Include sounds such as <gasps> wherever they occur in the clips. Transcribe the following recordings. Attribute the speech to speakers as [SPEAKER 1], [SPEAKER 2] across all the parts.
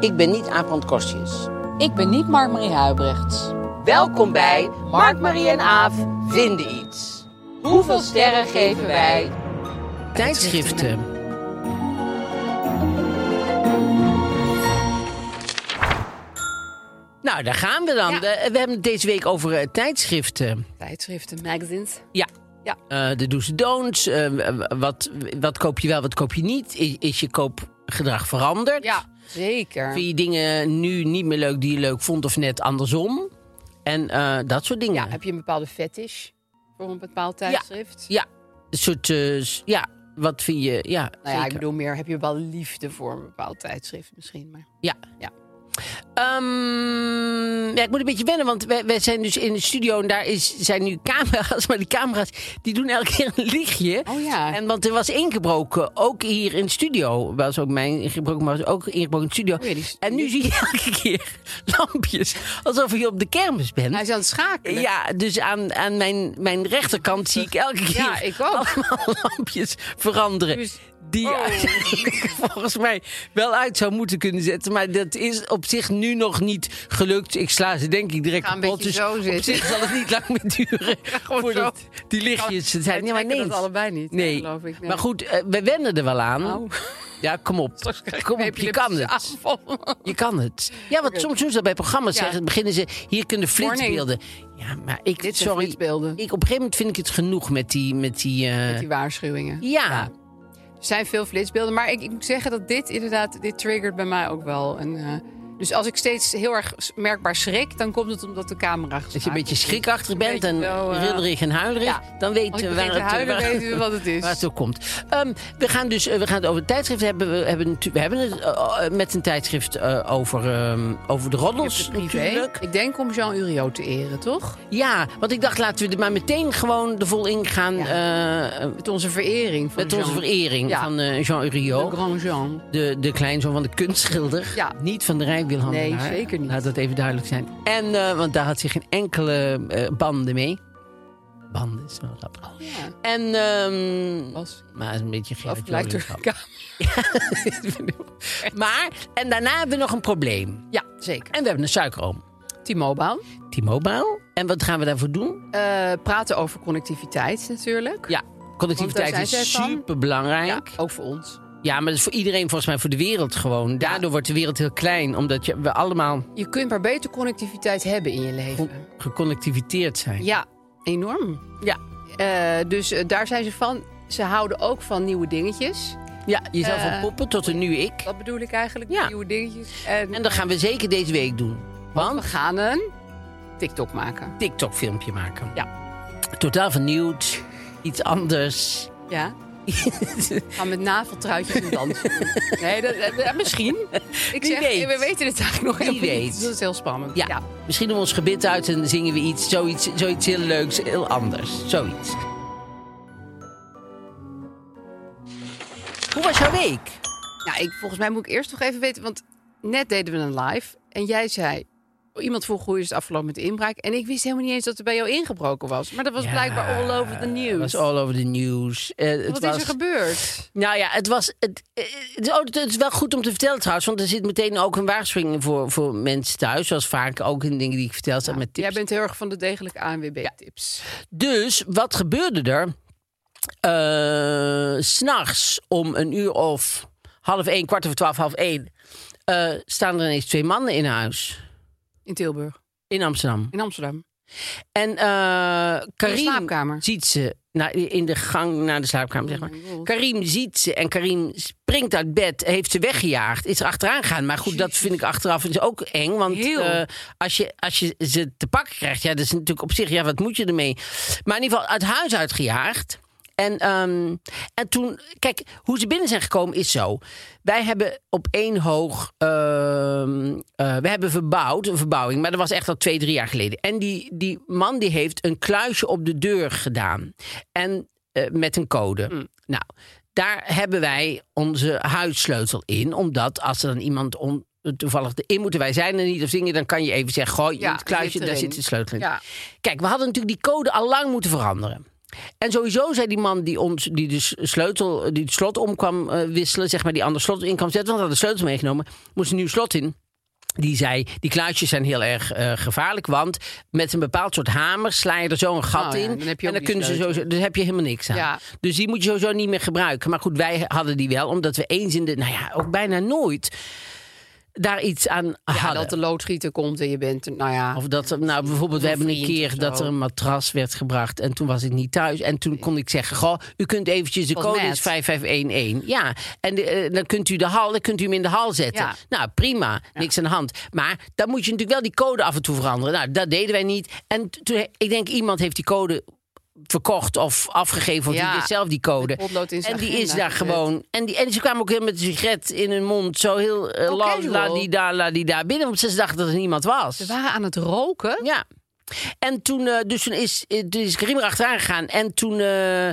[SPEAKER 1] Ik ben niet Aafrand Kostjes.
[SPEAKER 2] Ik ben niet Mark-Marie Huibrechts.
[SPEAKER 1] Welkom bij Mark, Marie en Aaf vinden iets. Hoeveel sterren geven wij? Tijdschriften. Nou, daar gaan we dan.
[SPEAKER 2] Ja.
[SPEAKER 1] Eh, We hebben het deze week over eh, tijdschriften.
[SPEAKER 2] Tijdschriften, magazines.
[SPEAKER 1] Ja.
[SPEAKER 2] Ja.
[SPEAKER 1] Eh, de do's en don'ts. eh, w- wat, wat koop je wel, wat koop je niet? Is, is je koopgedrag veranderd?
[SPEAKER 2] Ja, zeker.
[SPEAKER 1] Vind je dingen nu niet meer leuk die je leuk vond of net andersom? En eh, dat soort dingen.
[SPEAKER 2] Ja, heb je een bepaalde fetish voor een bepaald tijdschrift?
[SPEAKER 1] Ja, een soort, eh, s- ja, wat vind je, ja,
[SPEAKER 2] Nou ja, ik
[SPEAKER 1] zeker.
[SPEAKER 2] bedoel meer, heb je wel liefde voor een bepaald tijdschrift misschien? Maar...
[SPEAKER 1] Ja.
[SPEAKER 2] Ja.
[SPEAKER 1] Ehm, ja, ik moet een beetje wennen, want wij, wij zijn dus in de studio en daar is, zijn nu camera's, <laughs> maar die camera's die doen elke keer een lichtje.
[SPEAKER 2] Oh ja.
[SPEAKER 1] En want er was ingebroken, ook hier in de studio. Was ook mijn ingebroken, maar was ook ingebroken in de studio.
[SPEAKER 2] Oh ja, die stu-
[SPEAKER 1] en nu zie je <laughs> elke keer lampjes, alsof je op de kermis bent.
[SPEAKER 2] Hij is aan het schakelen.
[SPEAKER 1] Ja, dus aan, aan mijn, mijn rechterkant zie ik elke keer
[SPEAKER 2] Ja, ik ook.
[SPEAKER 1] allemaal <laughs> lampjes veranderen.
[SPEAKER 2] Dus-
[SPEAKER 1] die
[SPEAKER 2] Oh.
[SPEAKER 1] uiteindelijk <laughs> volgens mij wel uit zou moeten kunnen zetten. Maar dat is op zich nu nog niet gelukt. Ik sla ze denk ik direct
[SPEAKER 2] Ga een
[SPEAKER 1] kapot.
[SPEAKER 2] beetje
[SPEAKER 1] Dus
[SPEAKER 2] zo
[SPEAKER 1] op
[SPEAKER 2] zitten.
[SPEAKER 1] zich zal het niet lang meer
[SPEAKER 2] <laughs>
[SPEAKER 1] duren
[SPEAKER 2] gewoon
[SPEAKER 1] voordat
[SPEAKER 2] zo.
[SPEAKER 1] die lichtjes er zijn.
[SPEAKER 2] Wij
[SPEAKER 1] Nee, maar nee.
[SPEAKER 2] trekken dat allebei niet, hè,
[SPEAKER 1] nee.
[SPEAKER 2] geloof ik. Nee.
[SPEAKER 1] Maar goed, eh, we wennen er wel aan.
[SPEAKER 2] Oh.
[SPEAKER 1] Ja, kom
[SPEAKER 2] <laughs>
[SPEAKER 1] op. Kom op, je kan het. Je kan het. Ja, want soms doen ze dat bij programma's.
[SPEAKER 2] Ja.
[SPEAKER 1] Zeggen, beginnen ze, hier kunnen
[SPEAKER 2] Warning.
[SPEAKER 1] flitsbeelden. Ja, maar ik,
[SPEAKER 2] Dit zijn
[SPEAKER 1] sorry.
[SPEAKER 2] flitsbeelden.
[SPEAKER 1] Ik, op een gegeven moment vind ik het genoeg met die... Met die, eh,
[SPEAKER 2] Met die waarschuwingen.
[SPEAKER 1] ja.
[SPEAKER 2] Er zijn veel flitsbeelden, maar ik, ik moet zeggen dat dit inderdaad, dit triggert bij mij ook wel. een, eh, dus als ik steeds heel erg s- merkbaar schrik, dan komt het omdat de camera
[SPEAKER 1] Dat je een beetje schrikachtig
[SPEAKER 2] Een
[SPEAKER 1] bent en
[SPEAKER 2] beetje zo, eh,
[SPEAKER 1] rillerig en huilerig.
[SPEAKER 2] ja.
[SPEAKER 1] Dan
[SPEAKER 2] Als
[SPEAKER 1] weten
[SPEAKER 2] ik
[SPEAKER 1] we
[SPEAKER 2] begin
[SPEAKER 1] waar
[SPEAKER 2] te
[SPEAKER 1] het,
[SPEAKER 2] huilen,
[SPEAKER 1] waar-
[SPEAKER 2] weten we wat het is.
[SPEAKER 1] <laughs> Waar het toe komt. Ehm, we gaan dus eh, we gaan het over het tijdschrift hebben. We hebben, natu- we hebben het eh, eh, met een tijdschrift eh, over, ehm, over de roddels natuurlijk.
[SPEAKER 2] Ik denk om Jean Uriot te eren, toch?
[SPEAKER 1] Ja, want ik dacht laten we er maar meteen gewoon de vol in gaan. eh,
[SPEAKER 2] Met onze verering. Van
[SPEAKER 1] met onze
[SPEAKER 2] Jean.
[SPEAKER 1] verering
[SPEAKER 2] Ja.
[SPEAKER 1] van eh, Jean
[SPEAKER 2] Le
[SPEAKER 1] Uriot.
[SPEAKER 2] Grand Jean.
[SPEAKER 1] De, de kleinzoon van de kunstschilder.
[SPEAKER 2] Ja.
[SPEAKER 1] Niet van de rijwielhandelaar.
[SPEAKER 2] Nee, zeker niet.
[SPEAKER 1] Laat dat even duidelijk zijn. En, eh, want daar had zich geen enkele eh, banden mee. Banden is wel grappig.
[SPEAKER 2] Oh, Ja.
[SPEAKER 1] En, ehm,
[SPEAKER 2] Was.
[SPEAKER 1] maar het is een beetje geen
[SPEAKER 2] Of lijkt er- <laughs>
[SPEAKER 1] <laughs> Maar, en daarna hebben we nog een probleem.
[SPEAKER 2] Ja, zeker.
[SPEAKER 1] En we hebben een suikeroom.
[SPEAKER 2] Timo Baan.
[SPEAKER 1] T-Mobile. En wat gaan we daarvoor doen?
[SPEAKER 2] Eh, praten over connectiviteit natuurlijk.
[SPEAKER 1] Ja,
[SPEAKER 2] Want
[SPEAKER 1] connectiviteit
[SPEAKER 2] daar zijn
[SPEAKER 1] is
[SPEAKER 2] zij van.
[SPEAKER 1] super belangrijk.
[SPEAKER 2] Ja, ook voor ons.
[SPEAKER 1] Ja, maar dat is voor iedereen, volgens mij voor de wereld gewoon. Daardoor wordt de wereld heel klein, omdat je, we allemaal
[SPEAKER 2] Je kunt maar beter connectiviteit hebben in je leven.
[SPEAKER 1] ge- geconnectiviteerd zijn.
[SPEAKER 2] Ja, enorm.
[SPEAKER 1] Ja.
[SPEAKER 2] Eh, dus eh, daar zijn ze van. Ze houden ook van nieuwe dingetjes.
[SPEAKER 1] ja jezelf
[SPEAKER 2] Eh,
[SPEAKER 1] van poppen tot een nu ik.
[SPEAKER 2] Dat bedoel ik eigenlijk,
[SPEAKER 1] Ja.
[SPEAKER 2] nieuwe dingetjes. En,
[SPEAKER 1] En dat gaan we zeker deze week doen.
[SPEAKER 2] we
[SPEAKER 1] Want
[SPEAKER 2] gaan een TikTok maken.
[SPEAKER 1] TikTok-filmpje maken. Ja. Totaal vernieuwd. Iets anders.
[SPEAKER 2] Ja. We <laughs> gaan met naveltruitjes en <laughs> dansen. doen. Nee, dat, dat- dat- misschien. Ik
[SPEAKER 1] Wie
[SPEAKER 2] zeg,
[SPEAKER 1] weet.
[SPEAKER 2] we weten het eigenlijk nog
[SPEAKER 1] Wie
[SPEAKER 2] helemaal niet.
[SPEAKER 1] weet.
[SPEAKER 2] Dat is heel spannend.
[SPEAKER 1] Ja, misschien doen we ons gebit uit en zingen we iets, zoiets, zoiets heel leuks, heel anders. Zoiets. Hoe was jouw week?
[SPEAKER 2] Nou, ik, volgens mij moet ik eerst nog even weten, want net deden we een live en jij zei. Iemand vroeg hoe is het afgelopen met de inbraak. En ik wist helemaal niet eens dat er bij jou ingebroken was. Maar dat was blijkbaar all over the
[SPEAKER 1] Het
[SPEAKER 2] news.
[SPEAKER 1] was all over the news. Eh, het
[SPEAKER 2] Wat
[SPEAKER 1] was,
[SPEAKER 2] is er gebeurd?
[SPEAKER 1] Nou ja, het was. Het, eh, het, oh, het is wel goed om te vertellen trouwens, want er zit meteen ook een waarschuwing in voor, voor mensen thuis. Zoals vaak ook in dingen die ik vertel, staat met tips.
[SPEAKER 2] Jij bent heel erg van de degelijke ANWB-tips.
[SPEAKER 1] Dus wat gebeurde er? Eh, dan s'nachts om een uur of half één, kwart over twaalf, half één... eh, staan er ineens twee mannen in huis.
[SPEAKER 2] In Tilburg.
[SPEAKER 1] In Amsterdam.
[SPEAKER 2] In Amsterdam.
[SPEAKER 1] En eh Karim
[SPEAKER 2] slaapkamer. Oh
[SPEAKER 1] ziet ze nou, in de gang naar de slaapkamer. Zeg maar. Karim ziet ze en Karim springt uit bed, heeft ze weggejaagd, is er achteraan gegaan. Maar goed, dat vind ik achteraf is ook eng. Want
[SPEAKER 2] Heel.
[SPEAKER 1] eh, als, je, als je ze te pakken krijgt, ja, dat is natuurlijk op zich, ja, wat moet je ermee? Maar in ieder geval uit huis uitgejaagd. En, ehm, en toen, kijk, hoe ze binnen zijn gekomen is zo. Wij hebben op één hoog, ehm, eh, we hebben verbouwd, een verbouwing, maar dat was echt al twee, drie jaar geleden. En die, die man die heeft een kluisje op de deur gedaan. En eh, met een code.
[SPEAKER 2] Mm.
[SPEAKER 1] Nou, daar hebben wij onze huissleutel in, omdat als er dan iemand on, toevallig erin moeten wij zijn er niet of dingen, dan kan je even zeggen, gooi
[SPEAKER 2] Ja,
[SPEAKER 1] in het kluisje,
[SPEAKER 2] zit
[SPEAKER 1] daar
[SPEAKER 2] erin.
[SPEAKER 1] zit de sleutel in.
[SPEAKER 2] Ja.
[SPEAKER 1] Kijk, we hadden natuurlijk die code al lang moeten veranderen. En sowieso zei die man die, ons, die de s- sleutel, die het slot om kwam eh, wisselen, zeg maar, die ander slot in kwam zetten, want hij had de sleutel meegenomen, moest een nieuw slot in. Die zei, die kluisjes zijn heel erg eh, gevaarlijk, want met een bepaald soort hamer sla je er zo een gat
[SPEAKER 2] Oh ja,
[SPEAKER 1] in.
[SPEAKER 2] dan heb je
[SPEAKER 1] en dan
[SPEAKER 2] ook die
[SPEAKER 1] kunnen ze
[SPEAKER 2] sleutel.
[SPEAKER 1] sowieso, dus heb je helemaal niks aan.
[SPEAKER 2] Ja.
[SPEAKER 1] Dus die moet je sowieso niet meer gebruiken. Maar goed, wij hadden die wel, omdat we eens in de, nou ja, ook bijna nooit daar iets aan
[SPEAKER 2] Ja,
[SPEAKER 1] hadden.
[SPEAKER 2] dat de loodgieter komt en je bent... er- Nou ja,
[SPEAKER 1] Of dat, er- nou bijvoorbeeld, we hebben een
[SPEAKER 2] vriend of
[SPEAKER 1] keer
[SPEAKER 2] zo.
[SPEAKER 1] dat er een matras werd gebracht en toen was ik niet thuis. En toen kon ik zeggen, goh, u kunt eventjes, de
[SPEAKER 2] Was
[SPEAKER 1] code
[SPEAKER 2] net.
[SPEAKER 1] is 5511. Ja, en de, eh, dan kunt u de hal, dan kunt u hem in de hal zetten.
[SPEAKER 2] Ja.
[SPEAKER 1] Nou, prima, niks aan de hand. Maar dan moet je natuurlijk wel die code af en toe veranderen. Nou, dat deden wij niet. En t- toen, he- ik denk, iemand heeft die code verkocht of afgegeven, want
[SPEAKER 2] Ja,
[SPEAKER 1] die wist zelf die code.
[SPEAKER 2] met potlood in zijn
[SPEAKER 1] En die
[SPEAKER 2] agenda
[SPEAKER 1] is daar
[SPEAKER 2] gezet.
[SPEAKER 1] gewoon. En, die, en ze kwamen ook heel met een sigaret in hun mond, zo heel eh,
[SPEAKER 2] Oh,
[SPEAKER 1] la,
[SPEAKER 2] casual.
[SPEAKER 1] la, die daar, la, die daar binnen, want ze dachten dat er niemand was.
[SPEAKER 2] ze waren aan het roken.
[SPEAKER 1] Ja. En toen, eh, dus toen is, eh, toen is Karim erachteraan gegaan. En toen, eh,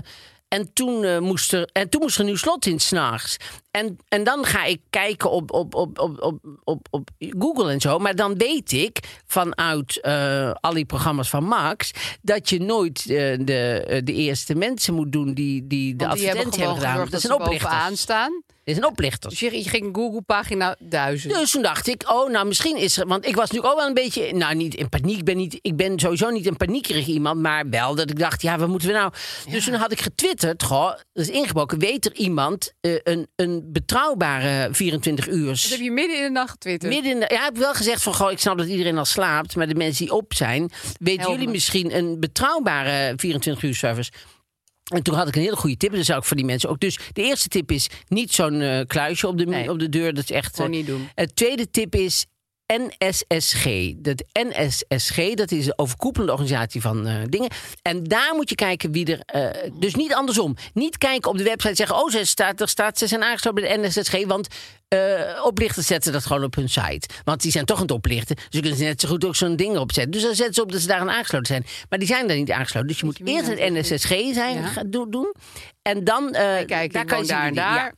[SPEAKER 1] en toen, eh, moest, er, en toen moest er een nieuw slot in s'nachts. En, en dan ga ik kijken op, op, op, op, op, op, op Google en zo. Maar dan weet ik vanuit eh, al die programma's van Max... dat je nooit eh, de, eh, de eerste mensen moet doen die, die de
[SPEAKER 2] Want die hebben
[SPEAKER 1] advertentie
[SPEAKER 2] gewoon
[SPEAKER 1] hebben gedaan. Dat
[SPEAKER 2] gezorgd dat
[SPEAKER 1] is
[SPEAKER 2] ze
[SPEAKER 1] een oplichter.
[SPEAKER 2] bovenaan staan.
[SPEAKER 1] Dat is een oplichter.
[SPEAKER 2] Dus je je ging Google pagina 1000.
[SPEAKER 1] Dus toen dacht ik, oh, nou misschien is er... Want ik was natuurlijk ook wel een beetje... Nou, niet in paniek. Ik Ben niet, ik ben sowieso niet een paniekerig iemand. Maar wel dat ik dacht, ja, wat moeten we nou... Dus toen had ik getwitterd, goh, dat is ingebroken. Weet er iemand eh, een, een betrouwbare 24
[SPEAKER 2] Dat heb
[SPEAKER 1] uur...
[SPEAKER 2] je midden in de nacht getwitterd.
[SPEAKER 1] Midden in de, ja, ik heb wel gezegd van, goh, ik snap dat iedereen al slaapt. Maar de mensen die op zijn... Weten
[SPEAKER 2] Helder.
[SPEAKER 1] jullie misschien een betrouwbare 24 uur service... En toen had ik een hele goede tip. En dat zou ik voor die mensen ook. Dus de eerste tip is niet zo'n eh, kluisje op de,
[SPEAKER 2] Nee.
[SPEAKER 1] op de deur. Dat is echt...
[SPEAKER 2] Gewoon
[SPEAKER 1] eh,
[SPEAKER 2] niet doen.
[SPEAKER 1] het tweede tip is NSSG. Dat NSSG, dat is de overkoepelende organisatie van eh, dingen. En daar moet je kijken wie er... eh, dus niet andersom. Niet kijken op de website en zeggen... oh, ze, staat, er staat, ze zijn aangesloten bij de NSSG. Want eh, oplichters zetten dat gewoon op hun site. Want die zijn toch aan het oplichten. Dus dan kunnen ze net zo goed ook zo'n ding erop zetten. Dus dan zetten ze op dat ze daar aan aangesloten zijn. Maar die zijn daar niet aangesloten. Dus je moet eerst het NSSG zijn,
[SPEAKER 2] nou Ja.
[SPEAKER 1] ga- do- doen. En dan... eh,
[SPEAKER 2] kijken,
[SPEAKER 1] daar
[SPEAKER 2] ik
[SPEAKER 1] kan je
[SPEAKER 2] woon
[SPEAKER 1] zien
[SPEAKER 2] daar en
[SPEAKER 1] wie- ja.
[SPEAKER 2] daar.